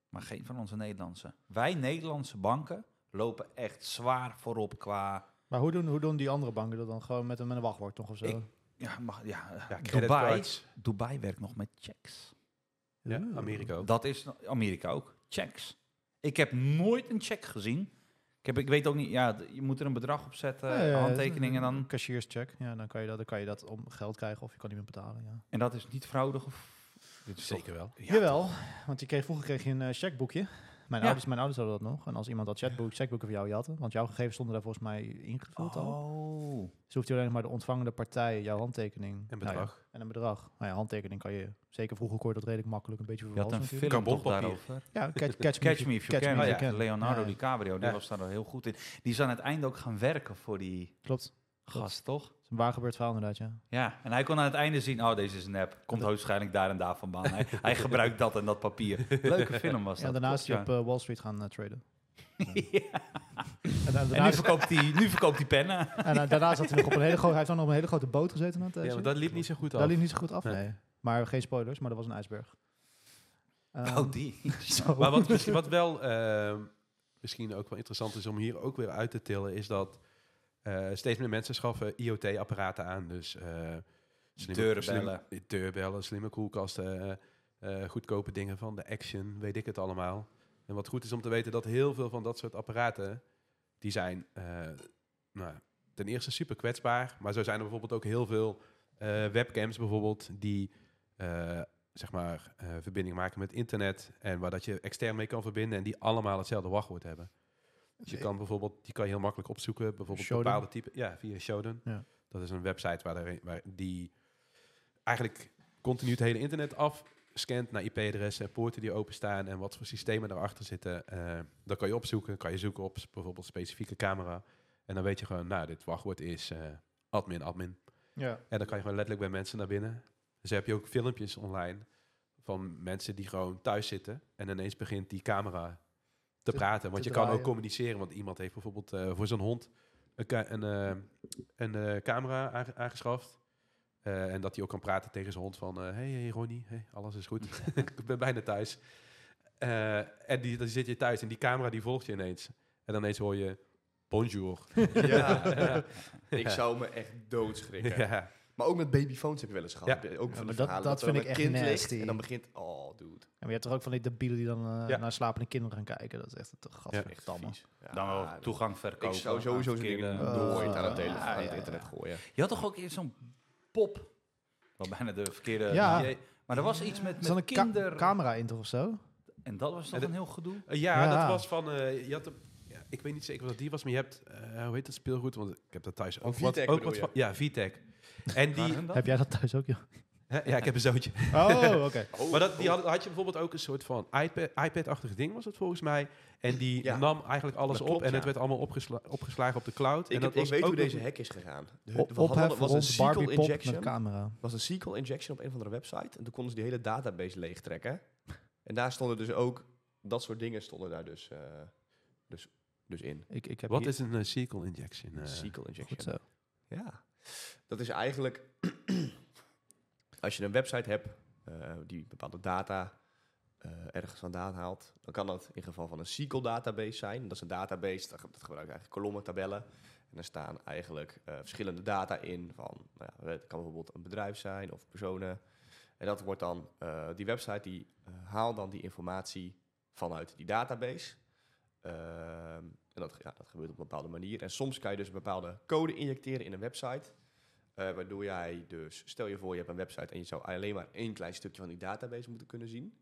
Speaker 2: Maar geen van onze Nederlandse. Wij Nederlandse banken lopen echt zwaar voorop qua...
Speaker 1: Maar hoe doen, hoe doen die andere banken dat dan? Gewoon met een, met een wachtwoord toch of zo?
Speaker 2: Ik- Ja, mag, ja,
Speaker 3: Ja,
Speaker 2: Dubai,
Speaker 3: eh, creditcards.
Speaker 2: Dubai werkt nog met checks.
Speaker 3: Ja,
Speaker 1: Oeh.
Speaker 3: Amerika ook.
Speaker 2: Dat is Amerika ook. Checks. Ik heb nooit een check gezien. Ik, heb, ik weet ook niet, ja, d- je moet er een bedrag op zetten,
Speaker 1: Ja, ja, ja,
Speaker 2: handtekening en dan...
Speaker 1: Cashierscheck. Ja, dan kan, je dat, dan kan je dat om geld krijgen of je kan niet meer betalen. Ja.
Speaker 2: En dat is niet fraudig of... Dit is toch-
Speaker 3: Zeker wel.
Speaker 2: Ja,
Speaker 1: Jawel, want je kreeg, vroeger kreeg je een eh, checkboekje. Mijn,
Speaker 2: Ja.
Speaker 1: ouders, mijn ouders hadden dat nog. En als iemand dat checkboek, checkboek van jou had, want jouw gegevens stonden daar volgens mij ingevuld al.
Speaker 2: Oh.
Speaker 1: Dus hoeft je alleen nog maar de ontvangende partij, jouw handtekening.
Speaker 3: En
Speaker 1: Nou ja,
Speaker 3: bedrag.
Speaker 1: en een bedrag. Nou ja, handtekening kan je, zeker vroeger kon je dat redelijk makkelijk een beetje
Speaker 2: Je had
Speaker 1: vervalsen
Speaker 2: een
Speaker 1: natuurlijk.
Speaker 2: film
Speaker 3: Kan
Speaker 2: toch
Speaker 3: bonpapier.
Speaker 2: daarover.
Speaker 1: Ja,
Speaker 2: <laughs>
Speaker 1: catch, catch,
Speaker 2: Catch Me If You Can. Oh
Speaker 1: If
Speaker 2: ja, Leonardo
Speaker 1: Ja,
Speaker 2: DiCaprio, die
Speaker 3: Ja.
Speaker 2: was daar al heel goed in. Die is aan het einde ook gaan werken voor die
Speaker 1: Klopt. Het
Speaker 2: gast, toch?
Speaker 1: is een waar gebeurd verhaal inderdaad, ja.
Speaker 2: Ja, en hij kon aan het einde zien, oh, deze is een app. Komt waarschijnlijk daar en daar vandaan. Hij, hij gebruikt dat en dat papier. Leuke film was
Speaker 1: ja
Speaker 2: dat.
Speaker 1: daarna
Speaker 2: klopt,
Speaker 1: is hij
Speaker 2: ja.
Speaker 1: op eh, Wall Street gaan eh,
Speaker 2: <laughs>
Speaker 1: traden.
Speaker 2: Ja.
Speaker 1: En, dan-
Speaker 2: En nu
Speaker 1: daarna, is-
Speaker 2: verkoopt hij, nu verkoopt hij
Speaker 1: <laughs>
Speaker 2: pennen.
Speaker 1: en dan- daarna zat hij nog op een hele grote... Hij heeft dan op een hele grote boot gezeten. net, eh,
Speaker 3: Ja,
Speaker 1: zie
Speaker 3: maar
Speaker 1: ik.
Speaker 3: dat liep niet zo goed af.
Speaker 1: Dat liep niet zo goed af,
Speaker 3: Nee.
Speaker 1: nee. Maar geen spoilers, maar dat was een ijsberg. Ehm,
Speaker 2: Oh, die.
Speaker 1: <laughs> zo.
Speaker 3: Maar wat, misschien- wat wel ehm, misschien ook wel interessant is om hier ook weer uit te tillen, is dat eh, steeds meer mensen schaffen IoT-apparaten aan. Dus eh,
Speaker 2: Deurbellen.
Speaker 3: slimme- deurbellen, slimme koelkasten, eh, eh, goedkope dingen van de Action, weet ik het allemaal. En wat goed is om te weten dat heel veel van dat soort apparaten, die zijn eh, nou, ten eerste super kwetsbaar, maar zo zijn er bijvoorbeeld ook heel veel eh, webcams bijvoorbeeld die eh, zeg maar, eh, verbinding maken met internet en waar dat je extern mee kan verbinden en die allemaal hetzelfde wachtwoord hebben. Dus <laughs> je kan bijvoorbeeld, die kan je heel makkelijk opzoeken, bijvoorbeeld
Speaker 1: Shodan?
Speaker 3: bepaalde type, ja, via Shodan.
Speaker 1: Ja.
Speaker 3: Dat is een website waar, daar- waar die eigenlijk continu het hele internet afscant naar IP-adressen en poorten die openstaan en wat voor systemen daarachter zitten. Eh dat kan je opzoeken, kan je zoeken op s- bijvoorbeeld specifieke camera en dan weet je gewoon, nou, dit wachtwoord is eh, admin, admin.
Speaker 1: ja.
Speaker 3: En dan kan je gewoon letterlijk bij mensen naar binnen. Dus heb je ook filmpjes online van mensen die gewoon thuis zitten. En ineens begint die camera te
Speaker 1: Te-
Speaker 3: praten. Want
Speaker 1: te
Speaker 3: je kan
Speaker 1: draaien.
Speaker 3: ook communiceren. Want iemand heeft bijvoorbeeld eh, voor zijn hond een, ka- een, eh, een eh, camera aange- aangeschaft. Eh, en dat hij ook kan praten tegen zijn hond van... eh, hey, hey Ronnie, hey, alles is goed. <laughs> Ik ben bijna thuis. Eh, en die, dan zit je thuis en die camera die volgt je ineens. En dan ineens hoor je... Bonjour.
Speaker 4: <laughs> Ja. ik zou me echt <laughs> doodschrikken.
Speaker 3: Ja.
Speaker 4: Maar ook met babyphones heb je wel eens gehad.
Speaker 3: Ja.
Speaker 4: Heb je Ook
Speaker 1: Ja,
Speaker 4: van
Speaker 1: maar
Speaker 4: die
Speaker 1: dat-
Speaker 4: verhalen
Speaker 1: dat
Speaker 4: er
Speaker 1: vind
Speaker 4: dan
Speaker 1: ik
Speaker 4: een
Speaker 1: echt
Speaker 4: kind ligt
Speaker 1: nasty.
Speaker 4: En dan begint, oh dude.
Speaker 1: En je hebt toch ook van die debielen die dan eh,
Speaker 3: Ja.
Speaker 1: naar slapende kinderen gaan kijken. Dat is echt toch gat.
Speaker 3: Ja.
Speaker 4: Echt
Speaker 1: Gadverdamme.
Speaker 4: vies. Ja,
Speaker 2: Dan wel
Speaker 4: dat-
Speaker 2: toegang verkopen.
Speaker 4: Ik zou
Speaker 2: aan
Speaker 4: sowieso zo'n dingen
Speaker 2: verkeerde-
Speaker 1: Eh,
Speaker 4: nooit aan het,
Speaker 1: ja,
Speaker 4: telefoon, aan het
Speaker 1: ja,
Speaker 4: internet gooien.
Speaker 2: Je had toch ook eerst zo'n pop? Wel bijna de verkeerde...
Speaker 1: Ja.
Speaker 2: idee. Maar er was iets met,
Speaker 1: Is dat
Speaker 2: met
Speaker 1: een ka-
Speaker 2: kinder...
Speaker 1: camera in toch of zo?
Speaker 2: en dat was toch
Speaker 3: En de-
Speaker 2: een heel gedoe?
Speaker 3: Uh, ja,
Speaker 1: Ja.
Speaker 3: dat was van. eh, je had een- ja, ik weet niet zeker wat die was, maar je hebt. eh, hoe heet dat speelgoed? Want ik heb dat thuis ook. wat,
Speaker 4: Vitek
Speaker 3: ook
Speaker 4: Oh, bedoel
Speaker 3: wat
Speaker 4: je?
Speaker 3: van, ja, VTech. En die.
Speaker 2: Waren hun dat?
Speaker 1: Heb jij dat thuis ook, joh?
Speaker 3: Hè? ja, ik heb een
Speaker 4: <laughs>
Speaker 3: zoontje.
Speaker 1: Oh, oké. <laughs>
Speaker 3: maar dat, die had, had je bijvoorbeeld ook een soort van iPad- iPad-achtig ding, was het volgens mij. En die
Speaker 4: Ja.
Speaker 3: nam eigenlijk alles
Speaker 4: Dat
Speaker 3: op
Speaker 4: klopt,
Speaker 3: en
Speaker 4: ja.
Speaker 3: het werd allemaal opgesla- opgeslagen op de cloud.
Speaker 4: Ik,
Speaker 3: en
Speaker 4: heb,
Speaker 3: dat
Speaker 4: ik
Speaker 3: was
Speaker 4: weet
Speaker 3: ook
Speaker 4: hoe
Speaker 3: nog-
Speaker 4: deze hack is gegaan. De- we hadden-
Speaker 1: Opheffen
Speaker 4: was een
Speaker 1: rond
Speaker 4: SQL
Speaker 1: Barbie pop met
Speaker 4: injection.
Speaker 1: camera.
Speaker 4: was een SQL injection op een van de website. En toen konden ze die hele database leegtrekken. En daar stonden dus ook dat soort dingen stonden daar dus, eh, dus, dus in.
Speaker 1: Ik, ik heb
Speaker 3: Wat
Speaker 1: hier-
Speaker 3: is een eh, SQL injection? eh?
Speaker 4: SQL injection.
Speaker 1: Goed zo.
Speaker 4: Ja. Dat is eigenlijk... <clears throat> als je een website hebt eh, die bepaalde data eh, ergens vandaan haalt... dan kan dat in geval van een SQL database zijn. Dat is een database, dat ge- dat gebruikt eigenlijk kolommen, tabellen. En daar staan eigenlijk eh, verschillende data in van... Nou ja, het kan bijvoorbeeld een bedrijf zijn of personen. En dat wordt dan, eh, die website die eh, haalt dan die informatie vanuit die database. Ehm, en dat, ja, dat gebeurt op een bepaalde manier. En soms kan je dus een bepaalde code injecteren in een website. eh, waardoor jij dus, stel je voor je hebt een website en je zou alleen maar één klein stukje van die database moeten kunnen zien.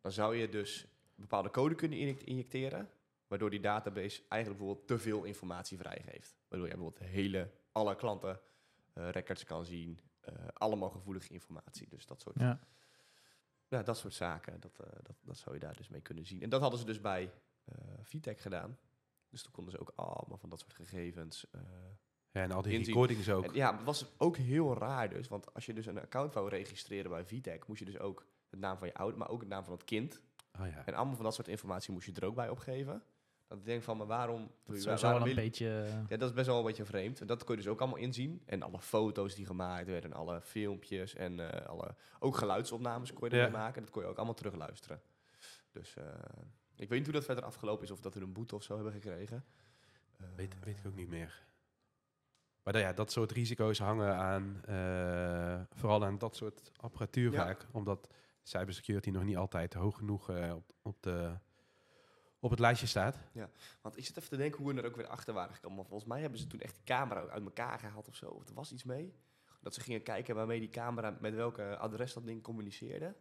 Speaker 4: Dan zou je dus bepaalde code kunnen inject- injecteren. Waardoor die database eigenlijk bijvoorbeeld te veel informatie vrijgeeft. Waardoor je bijvoorbeeld hele, alle klanten eh, records kan zien. eh, allemaal gevoelige informatie. Dus dat soort,
Speaker 1: Ja.
Speaker 4: ja, dat soort zaken. Dat, eh, dat, dat zou je daar dus mee kunnen zien. En dat hadden ze dus bij eh Vitec gedaan. Dus toen konden ze ook allemaal van dat soort gegevens. eh,
Speaker 3: Ja, en al die
Speaker 4: Inzien.
Speaker 3: recordings ook.
Speaker 4: en ja, maar het was ook heel raar dus. Want als je dus een account wou registreren bij Vitec, moest je dus ook het naam van je ouder, maar ook het naam van het kind.
Speaker 3: Oh ja.
Speaker 4: En allemaal van dat soort informatie moest je er ook bij opgeven. Dat ik denk van, maar waarom...
Speaker 1: Dat is
Speaker 4: waar-
Speaker 1: sowieso wel
Speaker 4: waarom
Speaker 1: een
Speaker 4: wil-
Speaker 1: beetje...
Speaker 4: ja, dat is best wel een beetje vreemd. En dat kun je dus ook allemaal inzien. En alle foto's die gemaakt werden, en alle filmpjes en eh, alle, ook geluidsopnames kon je
Speaker 3: Ja.
Speaker 4: ermee maken. Dat kon je ook allemaal terugluisteren. Dus eh, ik weet niet hoe dat verder afgelopen is. Of dat we een boete of zo hebben gekregen. Eh,
Speaker 3: Weet, weet ik ook niet meer. Maar nou ja, dat soort risico's hangen aan, eh, vooral aan dat soort apparatuur
Speaker 4: Ja.
Speaker 3: vaak. Omdat cybersecurity nog niet altijd hoog genoeg eh, op, op, de, op het lijstje staat.
Speaker 4: Want ik zit even te denken hoe we er ook weer achter waren gekomen. Maar volgens mij hebben ze toen echt de camera ook uit elkaar gehaald of zo. Of er was iets mee. Dat ze gingen kijken waarmee die camera, met welke adres dat ding communiceerde.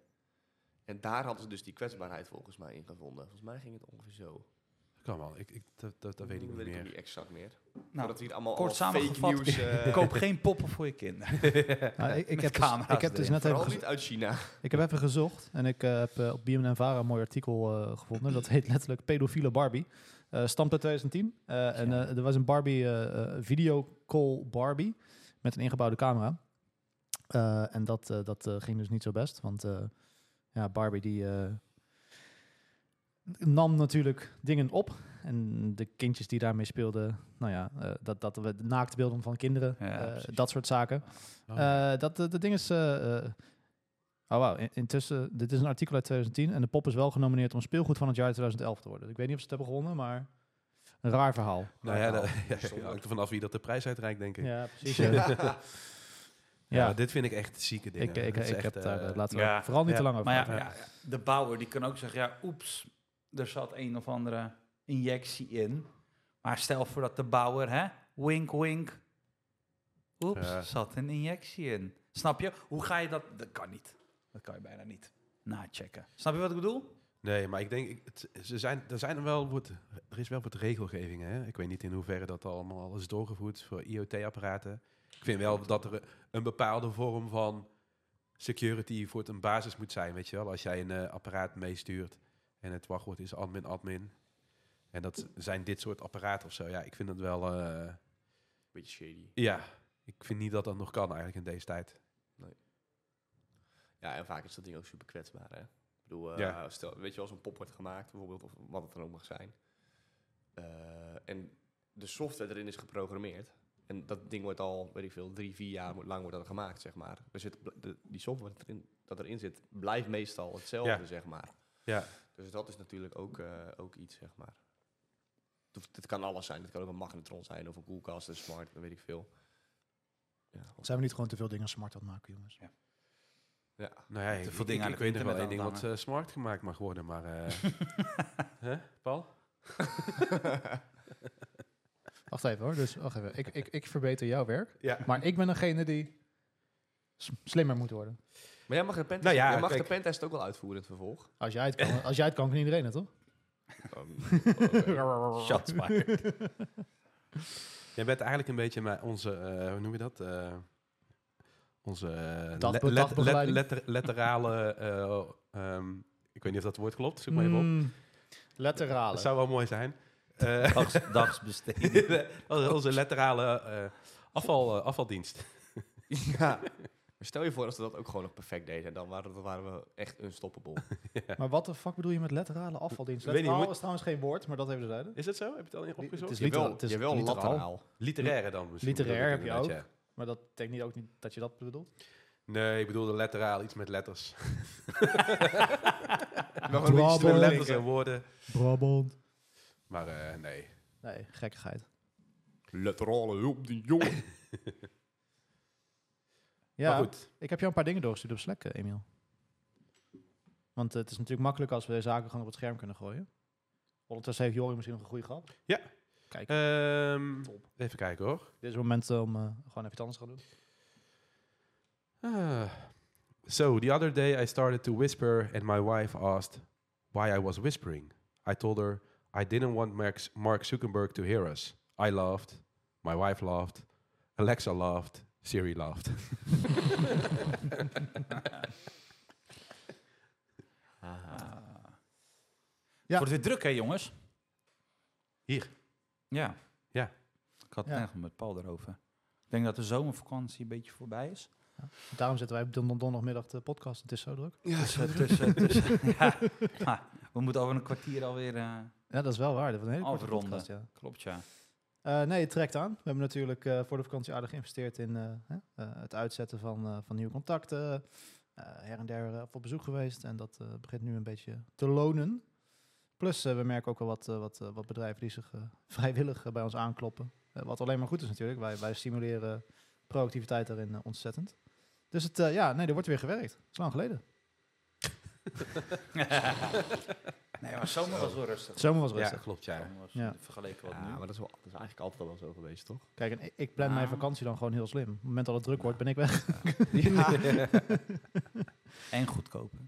Speaker 4: En daar hadden ze dus die kwetsbaarheid volgens mij in gevonden. Volgens mij ging het ongeveer zo.
Speaker 3: Dat kan wel, ik, ik, dat, dat, dat weet ik niet
Speaker 4: weet ik ook
Speaker 3: meer.
Speaker 4: niet exact meer.
Speaker 2: Nou,
Speaker 4: Voordat hier allemaal
Speaker 2: kort
Speaker 4: al fake
Speaker 2: samengevat,
Speaker 4: nieuws...
Speaker 2: <laughs>
Speaker 4: eh,
Speaker 2: Koop geen poppen voor je kinderen.
Speaker 1: <laughs> Nou, ik, ik
Speaker 2: eh, met
Speaker 1: heb dus,
Speaker 2: camera's
Speaker 1: ik heb dus
Speaker 2: erin.
Speaker 1: net even,
Speaker 4: Vooral
Speaker 1: gez-
Speaker 4: niet uit China.
Speaker 1: ik heb even gezocht en ik eh, heb eh, op BNN en Vara een mooi artikel eh, gevonden. Dat heet letterlijk Pedofiele Barbie. Eh stamt uit 2010. Eh, en eh, er was een Barbie, eh, eh, videocall Barbie met een ingebouwde camera. Eh, en dat, eh, dat eh, ging dus niet zo best, want eh, ja, Barbie die eh, nam natuurlijk dingen op. En de kindjes die daarmee speelden, nou ja, eh, dat, dat we naaktbeelden van kinderen,
Speaker 2: Ja,
Speaker 1: eh,
Speaker 2: precies.
Speaker 1: dat soort zaken.
Speaker 3: Oh,
Speaker 1: Eh, dat, dat ding is. eh, eh, oh, wauw. in- Intussen, dit is een artikel uit 2010. En de pop is wel genomineerd om speelgoed van het jaar 2011 te worden. Ik weet niet of ze het hebben gewonnen, maar. Een raar verhaal.
Speaker 3: nou <laughs> ja,
Speaker 4: nou,
Speaker 3: dat
Speaker 4: zonde.
Speaker 3: hangt ervan af wie dat de prijs uitreikt, denk <laughs> ik. Ja,
Speaker 1: Ja, precies. ja. ja,
Speaker 3: maar dit vind ik echt zieke dingen.
Speaker 1: ik, ik,
Speaker 3: Dat is
Speaker 1: ik
Speaker 3: echt,
Speaker 1: heb daar.
Speaker 3: eh,
Speaker 1: eh, laten we
Speaker 2: ja.
Speaker 1: vooral niet
Speaker 3: Ja.
Speaker 1: te lang over.
Speaker 2: Maar ja,
Speaker 1: praten.
Speaker 2: ja, de bouwer die kan ook zeggen, ja, oeps, er zat een of andere injectie in. Maar stel voor dat de bouwer, hè, wink, wink, oeps,
Speaker 3: Ja.
Speaker 2: zat een injectie in. Snap je? Hoe ga je dat? Dat kan niet. Dat kan je bijna niet nachecken. Snap je wat ik bedoel?
Speaker 3: Nee, maar ik denk, ik- het, ze zijn, er, zijn wel wat, er is wel wat regelgeving. Hè? Ik weet niet in hoeverre dat allemaal is doorgevoerd voor IoT-apparaten. Ik vind wel dat er een bepaalde vorm van security voor het een basis moet zijn. Weet je wel? Als jij een eh, apparaat meestuurt en het wachtwoord is admin, admin. En dat zijn dit soort apparaten of zo. Ja, ik vind dat wel... eh,
Speaker 4: Beetje shady.
Speaker 3: ja, ik vind niet dat dat nog kan eigenlijk in deze tijd.
Speaker 4: Ja, en vaak is dat ding ook super kwetsbaar, hè? Ik bedoel, eh,
Speaker 3: Ja.
Speaker 4: stel, weet je, als een pop wordt gemaakt, bijvoorbeeld, of wat het dan ook mag zijn. eh, en de software erin is geprogrammeerd. En dat ding wordt al, weet ik veel, drie, vier jaar mo- lang wordt dat gemaakt, zeg maar. Er zit, bl- de, die software dat erin, dat erin zit, blijft meestal hetzelfde,
Speaker 3: Ja.
Speaker 4: zeg maar.
Speaker 3: Ja.
Speaker 4: Dus dat is natuurlijk ook, eh, ook iets, zeg maar. Het hoeft- Het kan alles zijn. Het kan ook een magnetron zijn, of een koelkast, een smart, weet ik veel. Ja,
Speaker 1: Zijn we niet gewoon te veel dingen smart aan het maken, jongens?
Speaker 4: ja.
Speaker 3: Nou ja,
Speaker 2: Te
Speaker 3: ik,
Speaker 2: veel dingen aan
Speaker 3: ik, ik
Speaker 2: het
Speaker 3: weet nog wel één
Speaker 2: internet
Speaker 3: ding wat
Speaker 2: aanhangen.
Speaker 3: eh, smart gemaakt mag worden, maar...
Speaker 2: <laughs>
Speaker 3: eh, hè, Paul?
Speaker 1: Wacht even hoor. Dus wacht even. Ik, ik, ik verbeter jouw werk.
Speaker 3: Ja.
Speaker 1: Maar ik ben degene die s- slimmer moet worden.
Speaker 4: Maar jij mag, de pentest,
Speaker 3: Nou ja,
Speaker 4: jij mag de
Speaker 3: kijk.
Speaker 4: pentest ook wel uitvoeren in het vervolg.
Speaker 1: Als jij het kan, als jij het kan, kan iedereen het, toch?
Speaker 2: Shots
Speaker 4: <laughs>
Speaker 2: fired.
Speaker 3: Jij bent eigenlijk een beetje mijn, onze, eh, hoe noem je dat? Eh, onze eh,
Speaker 1: Dag-
Speaker 3: le- let- let-
Speaker 1: dagbegeleiding?
Speaker 3: letter- letterale, eh, ehm, ik weet niet of dat woord klopt, zoek maar even op.
Speaker 1: Mm, Letterale.
Speaker 3: Dat zou wel mooi zijn. Eh,
Speaker 2: Dags, dagsbesteding.
Speaker 3: <laughs> onze- onze letterale eh, afval, eh, afvaldienst.
Speaker 4: ja. <laughs> Maar stel je voor als we dat ook gewoon nog perfect deden, dan waren, dan waren we echt unstoppable.
Speaker 1: Maar wat de fuck bedoel je met letterale afvaldienst?
Speaker 3: Ik weet niet,
Speaker 1: Letterale Oh,
Speaker 3: moet-
Speaker 1: is trouwens geen woord, maar dat even zeiden.
Speaker 3: Is dat zo? Heb je het al in- opgezocht?
Speaker 1: is literaal- het is
Speaker 4: jawel
Speaker 1: literaal.
Speaker 4: <laughs> lateraal.
Speaker 3: Literaire dan misschien. bedoel
Speaker 1: Literair
Speaker 3: ik
Speaker 1: heb je
Speaker 3: inderdaad, ja.
Speaker 1: Maar dat betekent niet ook niet dat je dat bedoelt.
Speaker 3: Nee, ik bedoelde letteraal, iets met letters.
Speaker 4: Nog
Speaker 1: Blabber.
Speaker 3: iets met
Speaker 1: Brabant.
Speaker 3: letters en woorden.
Speaker 1: Brabant.
Speaker 3: Maar eh, nee.
Speaker 1: Nee, gekkigheid.
Speaker 4: Letterale hulp, die jongen.
Speaker 3: Maar
Speaker 1: Ja,
Speaker 3: goed,
Speaker 1: ik heb jou een paar dingen doorgestuurd op Slack, eh, Emiel. Want eh, het is natuurlijk makkelijk als we zaken gewoon op het scherm kunnen gooien. Ondertussen heeft Jori misschien nog een goede grap.
Speaker 3: ehm,
Speaker 1: Top.
Speaker 3: even kijken hoor.
Speaker 1: Dit is het moment om eh, gewoon even iets anders te gaan doen.
Speaker 3: Ah. <sighs> So the other day I started to whisper, and my wife asked why I was whispering. I told her I didn't want Max, Mark Zuckerberg to hear us. I laughed. My wife laughed. Alexa laughed. Siri laughed. <laughs>
Speaker 2: Ah.
Speaker 1: Ja.
Speaker 2: Wordt weer druk, hè, jongens?
Speaker 3: Hier.
Speaker 2: Ja.
Speaker 3: Ja.
Speaker 2: Ik had het
Speaker 1: Ja.
Speaker 2: net met Paul erover. Ik denk dat de zomervakantie een beetje voorbij is.
Speaker 1: Daarom zitten wij op don- don- donderdagmiddag de podcast. Het is zo druk.
Speaker 2: Ja, tussen, tussen, tussen- <laughs> ja. Ha, we moeten over een kwartier alweer... eh
Speaker 1: Ja, dat is wel waar. Dat was een hele korte
Speaker 2: Afronden.
Speaker 1: podcast, ja.
Speaker 2: klopt, ja.
Speaker 1: Eh, nee, het trekt aan. We hebben natuurlijk eh, voor de vakantie aardig geïnvesteerd in eh, hè, eh, het uitzetten van, eh, van nieuwe contacten. Eh, her en der eh, op bezoek geweest en dat eh, begint nu een beetje te lonen. Plus, eh, we merken ook wel wat, eh, wat, eh, wat bedrijven die zich eh, <laughs> vrijwillig eh, bij ons aankloppen. Eh, wat alleen maar goed is natuurlijk. Wij, wij stimuleren proactiviteit daarin eh, ontzettend. Dus het, eh, ja, nee, er wordt weer gewerkt. Het is lang geleden.
Speaker 2: <laughs> nee, maar zomer was wel rustig.
Speaker 1: Het zomer was
Speaker 3: Ja,
Speaker 1: rustig.
Speaker 3: klopt, ja.
Speaker 2: Zomer was
Speaker 1: Ja.
Speaker 2: Vergeleken wat
Speaker 4: Ja,
Speaker 2: nu.
Speaker 4: maar dat is, wel, dat is eigenlijk altijd al wel zo geweest, toch?
Speaker 1: Kijk, en ik, ik plan mijn
Speaker 2: Ah.
Speaker 1: vakantie dan gewoon heel slim. Op het moment dat het druk wordt, ben ik weg. <laughs>
Speaker 2: <laughs> en goedkoper.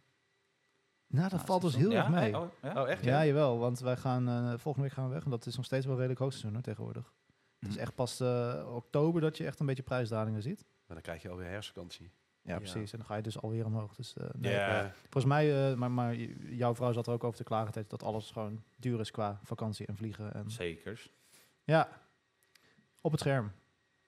Speaker 1: Nou, dat
Speaker 2: Ah,
Speaker 1: valt dus
Speaker 2: seizoen.
Speaker 1: heel
Speaker 2: Ja?
Speaker 1: erg mee.
Speaker 2: Oh, ja?
Speaker 3: Oh, echt?
Speaker 1: Ja, jawel, want wij gaan eh, volgende week gaan we weg. En dat is nog steeds wel redelijk hoogseizoen hoor, tegenwoordig. Het is
Speaker 2: Mhm.
Speaker 1: echt pas eh, oktober dat je echt een beetje prijsdalingen ziet.
Speaker 3: Maar dan krijg je alweer herfstvakantie.
Speaker 1: Ja,
Speaker 4: Ja.
Speaker 1: precies. En dan ga je dus alweer omhoog. Dus, eh, nee.
Speaker 2: Ja.
Speaker 3: Eh,
Speaker 1: Volgens mij, eh, maar, maar j- jouw vrouw zat er ook over te klagen tijd dat alles gewoon duur is qua vakantie en vliegen. En,
Speaker 2: Zekers.
Speaker 1: ja, op het scherm.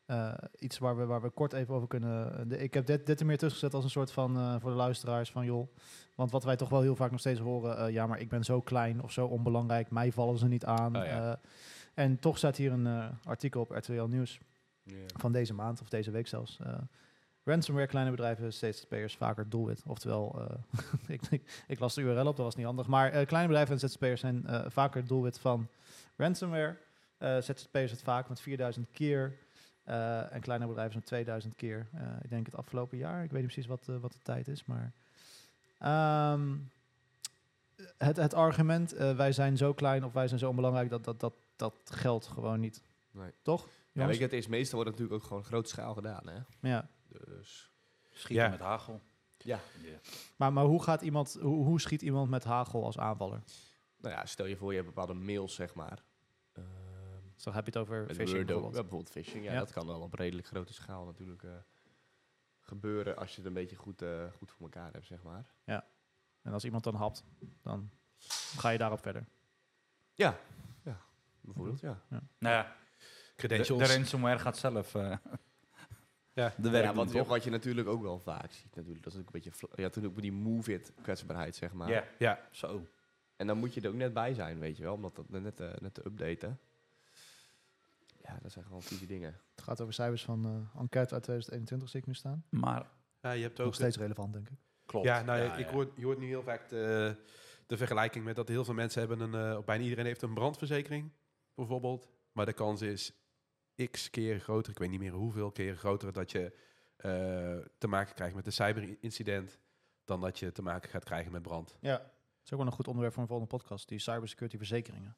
Speaker 1: Eh, iets waar we, waar we kort even over kunnen. eh, de- ik heb dit, dit er meer tussen gezet als een soort van eh, voor de luisteraars van joh. Want wat wij toch wel heel vaak nog steeds horen, eh, ja, maar ik ben zo klein of zo onbelangrijk, mij vallen ze niet aan.
Speaker 3: Oh ja.
Speaker 1: Eh, en toch staat hier een eh, artikel op RTL Nieuws van deze maand of deze week zelfs. eh, ransomware kleine bedrijven steeds ZZP'ers vaker doelwit. Oftewel, eh, <laughs> ik, ik, ik las de URL op, dat was niet handig. Maar eh, kleine bedrijven en ZZP'ers zijn eh, vaker doelwit van ransomware. Eh ZZP'ers het vaak met 4000 keer. eh, en kleine bedrijven zo'n 2000 keer. Eh, ik denk het afgelopen jaar. Ik weet niet precies wat, eh, wat de tijd is, maar... ehm, het, het argument, eh, wij zijn zo klein of wij zijn zo onbelangrijk, dat, dat, dat, dat geldt gewoon niet.
Speaker 4: Nee.
Speaker 1: Toch?
Speaker 4: Ja, weet
Speaker 1: jongens?
Speaker 4: je, het is meestal wordt het natuurlijk ook gewoon groot schaal gedaan, hè?
Speaker 1: ja.
Speaker 4: Dus...
Speaker 2: Schieten
Speaker 3: Ja.
Speaker 2: met hagel.
Speaker 4: Ja.
Speaker 1: Maar, maar hoe, gaat iemand, hoe, hoe schiet iemand met hagel als aanvaller?
Speaker 4: Nou ja, stel je voor, je hebt bepaalde mails, zeg maar. Ehm,
Speaker 1: Zo Dus heb je het over
Speaker 4: Met
Speaker 1: phishing
Speaker 4: Word ook.
Speaker 1: bijvoorbeeld.
Speaker 4: Ja, bijvoorbeeld phishing. Ja,
Speaker 1: Ja.
Speaker 4: dat kan wel op redelijk grote schaal natuurlijk eh, gebeuren als je het een beetje goed, eh, goed voor elkaar hebt, zeg maar.
Speaker 1: En als iemand dan hapt, dan ga je daarop verder.
Speaker 4: Ja, ja. bijvoorbeeld, ja.
Speaker 2: Nou ja, de, de
Speaker 3: credentials.
Speaker 2: ransomware gaat zelf eh,
Speaker 3: Ja.
Speaker 2: de werk
Speaker 4: ja
Speaker 2: doen,
Speaker 4: wat,
Speaker 2: toch?
Speaker 4: wat je natuurlijk ook wel vaak ziet natuurlijk, dat is ook een beetje... fla- Ja, natuurlijk met die move-it kwetsbaarheid, zeg maar.
Speaker 2: Ja.
Speaker 3: Ja.
Speaker 2: Zo.
Speaker 4: En dan moet je er ook net bij zijn, weet je wel, om dat, dat net, eh, net te updaten. Ja, dat zijn gewoon vieze dingen.
Speaker 1: Het gaat over cijfers van eh, enquête uit 2021, zie ik nu staan.
Speaker 2: Maar
Speaker 3: Ja, je hebt ook
Speaker 1: Nog steeds relevant, denk ik.
Speaker 2: klopt.
Speaker 3: Ja, nou, ja, ik
Speaker 2: ja.
Speaker 3: Hoor, je hoort nu heel vaak de, de vergelijking met dat heel veel mensen hebben een, eh, bijna iedereen heeft een brandverzekering, bijvoorbeeld. Maar de kans is x keer groter, ik weet niet meer hoeveel keer groter, dat je eh, te maken krijgt met een cyberincident dan dat je te maken gaat krijgen met brand.
Speaker 1: Ja. Dat is ook wel een goed onderwerp voor een volgende podcast. Die cybersecurity verzekeringen.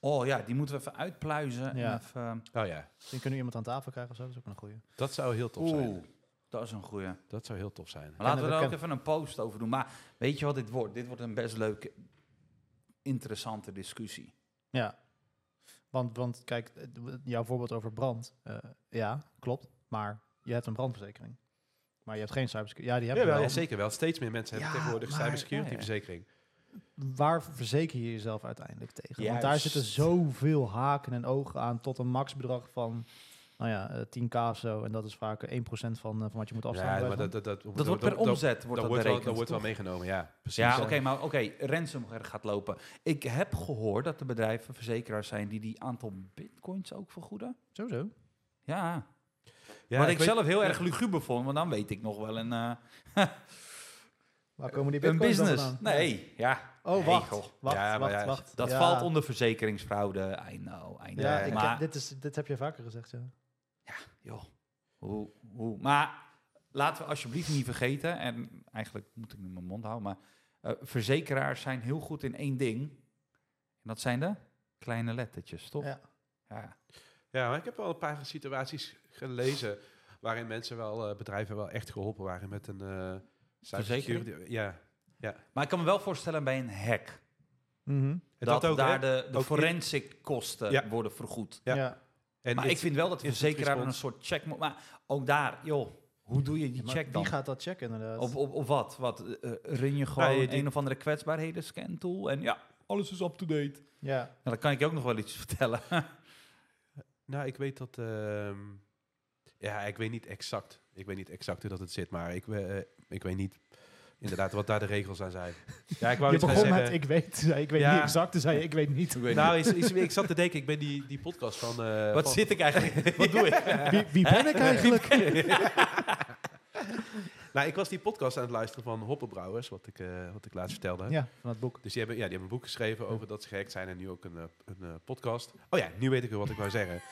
Speaker 2: Oh ja, die moeten we even uitpluizen.
Speaker 1: Ja.
Speaker 2: En even, ehm,
Speaker 3: Oh ja,
Speaker 1: Misschien kunnen we iemand aan tafel krijgen of zo. Dat is ook wel een goeie.
Speaker 3: dat zou heel tof zijn.
Speaker 2: oeh, dat is een goeie. Maar
Speaker 3: Dat zou heel tof zijn.
Speaker 2: laten we daar ook
Speaker 1: bekend.
Speaker 2: even een post over doen. Maar weet je wat dit wordt? Dit wordt een best leuke, interessante discussie.
Speaker 1: Ja. Want, want kijk, eh, d- jouw voorbeeld over brand. eh, ja, klopt. Maar je hebt een brandverzekering. Maar je hebt geen cybersecurity. Ja, die heb je
Speaker 3: Jawel,
Speaker 1: wel.
Speaker 3: ja, zeker wel. Steeds meer mensen hebben
Speaker 1: Ja,
Speaker 3: tegenwoordig
Speaker 1: maar-
Speaker 3: cybersecurity
Speaker 2: ja, ja.
Speaker 3: verzekering.
Speaker 1: waar verzeker je jezelf uiteindelijk tegen? Want daar
Speaker 2: Juist.
Speaker 1: zitten zoveel haken en ogen aan tot een maxbedrag van, nou ja, eh, 10k of zo. En dat is vaak eh, 1% van, eh, van wat je moet afstaan.
Speaker 3: Ja, maar dat, dat, dat,
Speaker 2: Dat wordt per omzet wordt
Speaker 3: dat
Speaker 2: dat
Speaker 3: wordt wel,
Speaker 2: berekend.
Speaker 3: dat wordt wel
Speaker 2: toch?
Speaker 3: meegenomen, ja. Precies.
Speaker 2: Ja, oké, maar oké, ransomware gaat lopen. Ik heb gehoord dat de bedrijven verzekeraars zijn die die aantal bitcoins ook vergoeden.
Speaker 1: Sowieso.
Speaker 2: Ja,
Speaker 3: Ja,
Speaker 2: Wat ik,
Speaker 3: ik weet-
Speaker 2: zelf heel erg luguber vond, want dan weet ik nog wel een, eh,
Speaker 1: Waar komen die
Speaker 2: een
Speaker 1: bitcoins dan
Speaker 2: business.
Speaker 1: vandaan?
Speaker 2: Nee, ja.
Speaker 1: Oh,
Speaker 2: Nee,
Speaker 1: wacht.
Speaker 2: joh.
Speaker 1: Wacht,
Speaker 3: Ja, maar
Speaker 1: wacht,
Speaker 3: ja,
Speaker 1: wacht.
Speaker 2: Dat
Speaker 1: Ja.
Speaker 2: valt onder verzekeringsfraude. I know, I know.
Speaker 1: Ja, ik-
Speaker 2: maar,
Speaker 1: dit, is, dit heb je vaker gezegd, ja.
Speaker 2: joh, hoe, hoe. Maar laten we alsjeblieft niet vergeten, en eigenlijk moet ik nu mijn mond houden, maar eh, verzekeraars zijn heel goed in één ding. En dat zijn de kleine lettertjes, toch?
Speaker 1: Ja.
Speaker 2: Ja.
Speaker 3: Ja, maar ik heb wel een paar situaties gelezen waarin mensen wel, eh, bedrijven wel echt geholpen waren met een eh
Speaker 2: Verzekering?
Speaker 3: cybersecurity- Ja,
Speaker 2: Maar ik kan me wel voorstellen bij een hack.
Speaker 1: Mhm.
Speaker 3: En
Speaker 2: dat,
Speaker 3: dat ook, hè?
Speaker 2: daar de, de
Speaker 3: Ook in-
Speaker 2: forensic kosten
Speaker 3: Ja.
Speaker 2: worden vergoed.
Speaker 3: Ja.
Speaker 1: ja.
Speaker 3: en
Speaker 2: maar ik vind wel dat de
Speaker 3: instant
Speaker 2: verzekeraar een
Speaker 3: response.
Speaker 2: soort check moet... Maar ook daar, joh, hoe doe je die
Speaker 1: Ja, maar
Speaker 2: check
Speaker 1: Wie
Speaker 2: dan?
Speaker 1: gaat dat checken inderdaad?
Speaker 2: Op, op, op wat? wat eh, eh, run je gewoon
Speaker 3: je die-
Speaker 2: een of andere kwetsbaarheden scan tool en ja, alles is up-to-date.
Speaker 1: Ja.
Speaker 2: Nou, dan kan ik je ook nog wel iets <laughs> vertellen.
Speaker 3: Nou, ik weet dat. ehm, ja, ik weet niet exact. Ik weet niet exact hoe dat het zit, maar ik, we- eh, ik weet niet inderdaad wat daar de regels aan
Speaker 2: <laughs>
Speaker 3: zijn. Ja, ik wou
Speaker 1: Je
Speaker 3: iets gaan
Speaker 1: begon
Speaker 3: zeggen.
Speaker 1: met ik weet, <laughs> zei ik weet
Speaker 3: Ja.
Speaker 1: niet exact, toen zei je ik weet niet.
Speaker 3: nou, is, is, ik zat te denken, ik ben die, die podcast van. eh,
Speaker 2: wat
Speaker 3: van-
Speaker 2: zit ik eigenlijk? <laughs> wat doe ik?
Speaker 1: Wie, wie ben ik eigenlijk?
Speaker 3: Nou, ik was die podcast aan het luisteren van Hoppenbrouwers, wat ik, eh, wat ik laatst vertelde.
Speaker 1: Ja, van het boek.
Speaker 3: Dus die hebben, ja, die hebben een boek geschreven over dat ze gehackt zijn en nu ook een, eh, een eh, podcast. Oh ja, nu weet ik weer wat ik wou zeggen.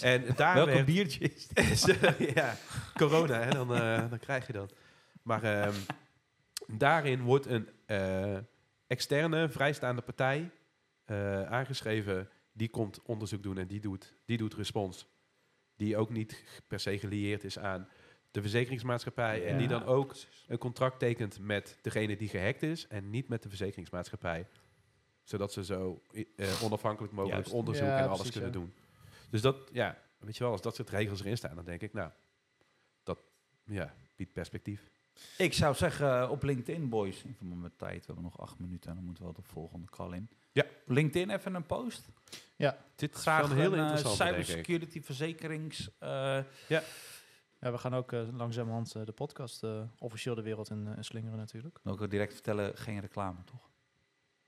Speaker 3: En daar
Speaker 2: Welke
Speaker 3: werd-
Speaker 2: biertje is dit?
Speaker 3: <laughs> Sorry, ja, corona, hè, dan, eh, dan krijg je dat. Maar ehm, daarin wordt een eh, externe, vrijstaande partij eh, aangeschreven. Die komt onderzoek doen en die doet, die doet respons. Die ook niet g- per se gelieerd is aan de verzekeringsmaatschappij. En die
Speaker 1: Ja.
Speaker 3: dan ook een contract tekent met degene die gehackt is en niet met de verzekeringsmaatschappij. Zodat ze zo i- eh, onafhankelijk mogelijk
Speaker 2: Juist.
Speaker 3: onderzoek
Speaker 1: Ja,
Speaker 3: en alles
Speaker 1: precies,
Speaker 3: kunnen
Speaker 1: ja.
Speaker 3: doen. Dus dat, ja, weet je wel, als dat soort regels erin staan, dan denk ik, nou, dat ja, biedt perspectief.
Speaker 2: Ik zou zeggen eh, op LinkedIn, boys. Even maar met tijd. We hebben nog acht minuten en dan moeten we wel de volgende call in.
Speaker 3: Ja.
Speaker 2: LinkedIn even een post.
Speaker 3: Dit is wel
Speaker 2: Graag
Speaker 3: een heel
Speaker 2: een eh,
Speaker 3: interessant, denk ik.
Speaker 2: cybersecurity verzekerings. eh,
Speaker 1: Ja, we gaan ook eh, langzamerhand eh, de podcast eh, officieel de wereld in, eh, in slingeren natuurlijk.
Speaker 2: dan kan ik direct vertellen, geen reclame, toch?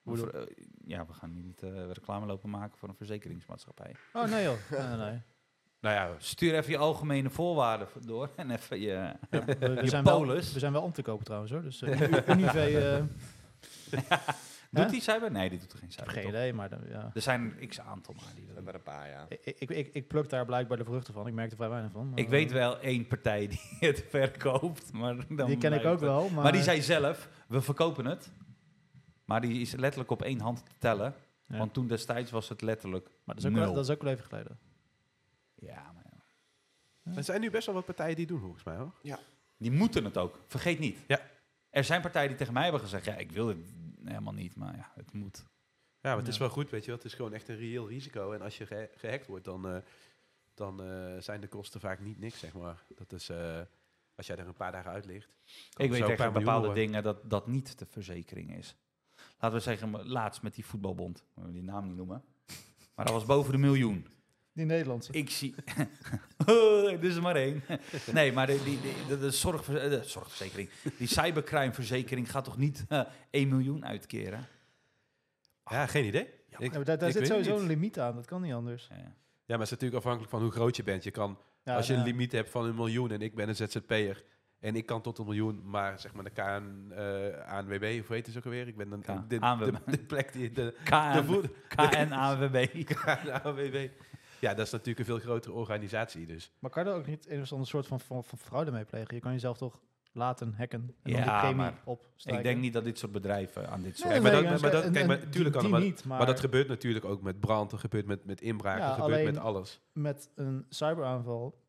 Speaker 1: Hoe
Speaker 2: Voor, eh, ja, we gaan nu niet eh, reclame lopen maken voor een verzekeringsmaatschappij.
Speaker 1: Oh nee joh, <laughs> nee, nee, nee.
Speaker 3: Nou ja,
Speaker 2: Stuur even je algemene voorwaarden voor- door en even je...
Speaker 1: Ja, we, we
Speaker 2: Je
Speaker 1: zijn wel,
Speaker 2: polis.
Speaker 1: we zijn wel om te kopen trouwens hoor. Dus <laughs> eh, U- Unive, eh,
Speaker 2: doet die cyber? Nee, die doet er geen cyber.
Speaker 1: geen
Speaker 2: toch?
Speaker 1: idee, maar dan- ja.
Speaker 2: Er zijn x aantal maar die dat
Speaker 4: zijn
Speaker 2: doen.
Speaker 4: maar een paar, ja.
Speaker 1: Ik, ik, ik, ik pluk daar blijkbaar de vruchten van. Ik merk er vrij weinig van. maar, eh,
Speaker 2: Ik weet wel één partij die <laughs> het verkoopt, maar dan
Speaker 1: Die ken ik
Speaker 2: blijft
Speaker 1: ook
Speaker 2: het.
Speaker 1: wel, maar...
Speaker 2: Maar die zei zelf, we verkopen het. Maar die is letterlijk op één hand te tellen.
Speaker 1: Ja.
Speaker 2: Want toen destijds was het letterlijk
Speaker 1: Maar dat is ook, wel,
Speaker 2: nul.
Speaker 1: dat is ook wel even geleden.
Speaker 2: Ja, maar ja.
Speaker 3: er zijn nu best wel wat partijen die doen, volgens mij hoor.
Speaker 2: Die moeten het ook, vergeet niet.
Speaker 3: Ja.
Speaker 2: Er zijn partijen die tegen mij hebben gezegd, ja, ik wil het helemaal niet, maar ja, het moet.
Speaker 3: Ja, maar het is
Speaker 1: Ja.
Speaker 3: wel goed, weet je wel. Het is gewoon echt een reëel risico. En als je geha- gehackt wordt, dan, eh, dan eh, zijn de kosten vaak niet niks, zeg maar. Dat is, eh, als jij er een paar dagen uit ligt. kan
Speaker 2: Ik
Speaker 3: het
Speaker 2: weet
Speaker 3: zo
Speaker 2: echt van
Speaker 3: een paar miljoen
Speaker 2: bepaalde
Speaker 3: worden.
Speaker 2: dingen dat dat niet de verzekering is. Laten we zeggen, maar laatst met die voetbalbond, we willen die naam niet noemen. Maar dat was boven de miljoen.
Speaker 1: Die Nederlandse.
Speaker 2: Ik zie. <laughs> oh, er is er maar één. nee, maar de, die, die- de, de, zorgver- de zorgverzekering, die cybercrimeverzekering gaat toch niet eh 1 miljoen uitkeren?
Speaker 3: Ja, geen idee.
Speaker 2: Ja,
Speaker 3: Ik-
Speaker 1: Ah. Ja, maar daar daar
Speaker 3: ik
Speaker 1: zit
Speaker 3: weet het
Speaker 1: sowieso
Speaker 3: niet.
Speaker 1: een limiet aan. Dat kan niet anders.
Speaker 2: Ja.
Speaker 3: Ja, maar het is natuurlijk afhankelijk van hoe groot je bent. Je kan
Speaker 1: Ja,
Speaker 3: Als je een
Speaker 1: nou,
Speaker 3: limiet hebt van een miljoen en ik ben een ZZP'er en ik kan tot een miljoen, maar zeg maar de KN, eh ANWB, of weet het ook alweer? Ik ben dan
Speaker 2: K-
Speaker 3: de, de,
Speaker 2: ANWB.
Speaker 3: de plek die de, de
Speaker 2: KN,
Speaker 3: voet- <laughs>
Speaker 2: KNAWB.
Speaker 3: ANWB. Ja, dat is natuurlijk een veel grotere organisatie, dus
Speaker 1: Maar kan je er ook niet een of andere soort van, van, van fraude mee plegen? Je kan jezelf toch laten hacken en
Speaker 2: Ja,
Speaker 1: dan die premie
Speaker 2: maar
Speaker 1: op
Speaker 2: Ik denk niet dat dit soort bedrijven aan dit soort...
Speaker 3: Nee, maar dat- maar dat- kijk, maar tuurlijk kan het,
Speaker 1: niet, maar,
Speaker 3: maar dat gebeurt natuurlijk ook met brand, dat gebeurt met, met inbraak,
Speaker 1: Ja,
Speaker 3: dat gebeurt
Speaker 1: alleen-
Speaker 3: met alles.
Speaker 1: met een cyberaanval,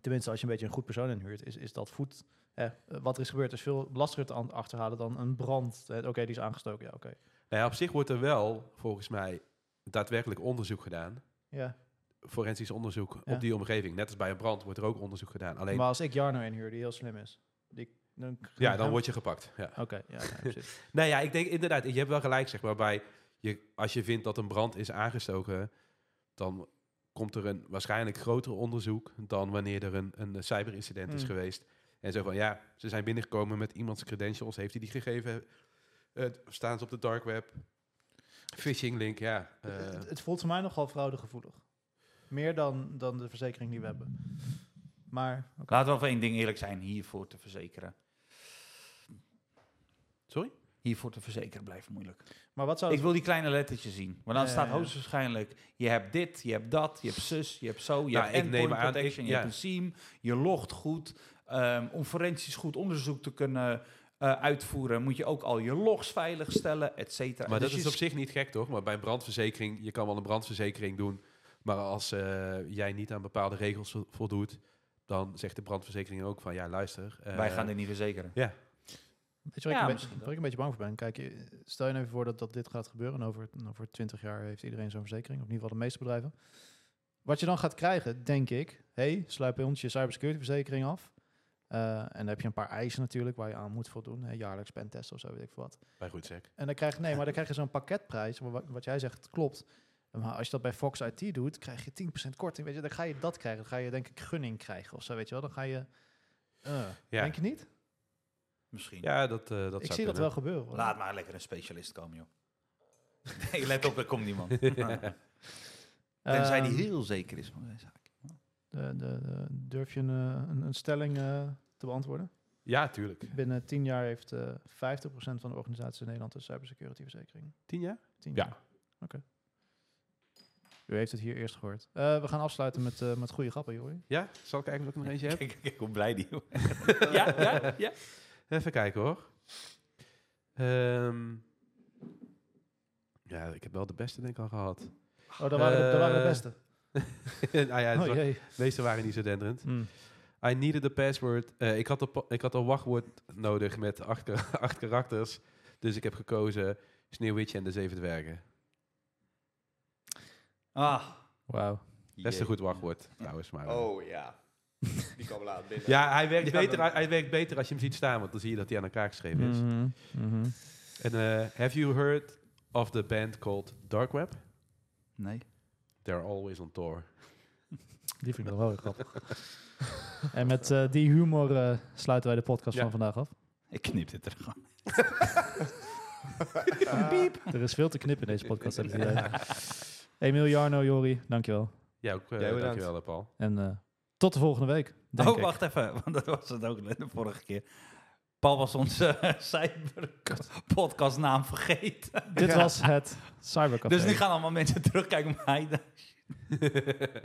Speaker 1: tenminste als je een beetje een goed persoon inhuurt, is, is dat voet. Eh, wat er is gebeurd is veel lastiger te aan- achterhalen dan een brand. Eh, oké, die is aangestoken. Ja, oké.
Speaker 3: Nou ja, op zich wordt er wel, volgens mij, daadwerkelijk onderzoek gedaan,
Speaker 1: Ja.
Speaker 3: forensisch onderzoek
Speaker 1: Ja.
Speaker 3: op die omgeving. Net als bij een brand wordt er ook onderzoek gedaan. Alleen,
Speaker 1: Maar als ik Jarno inhuur, die heel slim is, die, dan,
Speaker 3: ja, dan word je gepakt. Ja.
Speaker 1: Oké, ja, ja,
Speaker 3: <laughs>
Speaker 1: precies.
Speaker 3: Nou ja, ik denk inderdaad, je hebt wel gelijk, zeg maar. Bij je, als je vindt dat een brand is aangestoken, dan komt er een waarschijnlijk groter onderzoek dan wanneer er een, een cyberincident is
Speaker 1: Mm.
Speaker 3: geweest. En zo van ja, ze zijn binnengekomen met iemands credentials. Heeft hij die gegeven? Eh, staan ze op de dark web? Phishing link, ja. eh,
Speaker 1: het, het voelt voor mij nogal fraudegevoelig. Meer dan, dan de verzekering die we hebben. Maar
Speaker 2: Laten we over één ding eerlijk zijn, hiervoor te verzekeren.
Speaker 3: sorry?
Speaker 2: Hiervoor te verzekeren blijft moeilijk.
Speaker 1: Maar wat zou
Speaker 2: Ik wil die kleine lettertjes zien. Want dan
Speaker 1: Ja,
Speaker 2: staat
Speaker 1: ja, ja.
Speaker 2: hoogstwaarschijnlijk... je hebt dit, je hebt dat, je hebt zus, je hebt zo... je
Speaker 3: Nou,
Speaker 2: hebt
Speaker 3: ik neem
Speaker 2: endpoint
Speaker 3: aan, ik-
Speaker 2: protection, je
Speaker 3: ja.
Speaker 2: hebt een SIEM... je logt goed, Ehm, om forensisch goed onderzoek te kunnen eh, uitvoeren, moet je ook al je logs veiligstellen, et cetera.
Speaker 3: Maar
Speaker 2: Dus
Speaker 3: dat is
Speaker 2: je
Speaker 3: op zich niet gek, toch? Maar bij een brandverzekering, je kan wel een brandverzekering doen. Maar als eh, jij niet aan bepaalde regels vo- voldoet, dan zegt de brandverzekering ook van ja, luister. eh,
Speaker 2: Wij gaan dit niet verzekeren.
Speaker 1: Weet je waar,
Speaker 2: Ja,
Speaker 1: ik, een beetje,
Speaker 2: misschien
Speaker 1: waar ik een beetje bang voor ben? Kijk, eh, stel je nou even voor dat, dat dit gaat gebeuren. En over, en over 20 jaar heeft iedereen zo'n verzekering. Of in ieder geval de meeste bedrijven. Wat je dan gaat krijgen, denk ik. Hé, hey, sluit bij ons je cybersecurity verzekering af. Eh, en dan heb je een paar eisen natuurlijk waar je aan moet voldoen. hè, jaarlijks pentest of zo, weet ik veel wat.
Speaker 3: Bij Roetzek.
Speaker 1: En dan krijg je, nee, maar dan krijg je zo'n pakketprijs. wa- Wat, jij zegt klopt. Maar als je dat bij Fox IT doet, krijg je 10% korting. Weet je, dan ga je dat krijgen. Dan ga je denk ik gunning krijgen of zo, weet je wel. Dan ga je... eh,
Speaker 3: Ja.
Speaker 1: Denk je niet?
Speaker 2: Misschien.
Speaker 3: Ja, dat, eh, dat
Speaker 1: ik
Speaker 3: zou
Speaker 1: zie dat
Speaker 3: kunnen.
Speaker 1: wel gebeuren. hoor.
Speaker 2: Laat maar lekker een specialist komen, joh. <laughs> Nee, let op, er komt
Speaker 3: <laughs>
Speaker 2: niemand. Tenzij
Speaker 1: Ehm,
Speaker 2: die heel zeker is van zijn zaak.
Speaker 1: De, de, de- durf je een, eh, een, een stelling eh, te beantwoorden?
Speaker 3: Ja, tuurlijk.
Speaker 1: Binnen 10 jaar heeft eh 50% van de organisaties in Nederland een cybersecurity verzekering.
Speaker 3: Tien jaar?
Speaker 1: 10
Speaker 3: Ja.
Speaker 1: jaar. Oké. U heeft het hier eerst gehoord. Eh, we gaan afsluiten met, eh, met goede grappen, Jori.
Speaker 3: Ja? Zal ik kijken of ik nog eentje
Speaker 2: <laughs>
Speaker 3: heb?
Speaker 2: Kijk, kijk hoe blij die ja, ja, ja.
Speaker 3: Even kijken hoor. Ehm, ja, ik heb wel de beste denk ik al gehad. <laughs>
Speaker 1: Oh, dat waren, de- dat waren de
Speaker 3: Eh,
Speaker 1: beste.
Speaker 3: nou ja, het Hmm.
Speaker 1: Oh,
Speaker 3: wa-
Speaker 1: jee.
Speaker 3: de meeste waren niet zo denderend.
Speaker 1: Mm.
Speaker 3: I needed a password. Eh, ik, had een pa- ik had een wachtwoord nodig met acht, ka- <laughs> acht karakters. Dus ik heb gekozen Sneeuwwitje en de Zeven Dwergen.
Speaker 2: Ah,
Speaker 1: Wauw.
Speaker 3: Best een goed wachtwoord trouwens. Maar, eh.
Speaker 4: Oh ja. Die kwam laat binnen.
Speaker 3: Ja, hij werkt,
Speaker 4: Die gaan
Speaker 3: beter,
Speaker 4: we-
Speaker 3: hij, hij werkt beter als je hem ziet staan, want dan zie je dat hij aan elkaar geschreven is.
Speaker 1: Mhm, mhm.
Speaker 3: En eh, have you heard of the band called Dark Web?
Speaker 2: nee.
Speaker 3: They're always on tour.
Speaker 1: Die vind ik nog wel weer grappig. <laughs> en met eh, die humor eh, sluiten wij de podcast
Speaker 3: Ja.
Speaker 1: van vandaag af.
Speaker 2: Ik knip dit er gewoon.
Speaker 4: <laughs>
Speaker 1: Er is veel te knippen in
Speaker 3: <laughs>
Speaker 1: deze podcast. heb ik het idee. Emiel, Jarno, Jori, dankjewel.
Speaker 3: Ja, ook, eh,
Speaker 4: Jij bedankt.
Speaker 3: dankjewel eh, Paul.
Speaker 1: En eh, tot de volgende week. Denk
Speaker 2: Oh,
Speaker 1: ik.
Speaker 2: wacht even, want dat was het ook de vorige keer. Paul was onze cyberpodcastnaam vergeten.
Speaker 1: Dit was het Cybercafé.
Speaker 2: Dus nu gaan allemaal mensen terugkijken op mij. <laughs>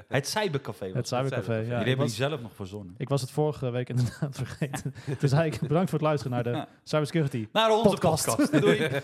Speaker 2: het cybercafé.
Speaker 1: het Cybercafé.
Speaker 2: Was.
Speaker 3: Cybercafé.
Speaker 1: Ja,
Speaker 2: Jullie
Speaker 1: ik,
Speaker 2: hebben
Speaker 1: was,
Speaker 2: die zelf nog verzonnen.
Speaker 1: ik was het vorige week inderdaad <laughs> vergeten. dus eigenlijk bedankt voor het luisteren naar de Cybersecurity
Speaker 2: Naar onze
Speaker 1: <laughs> Podcast.
Speaker 2: podcast. Doei.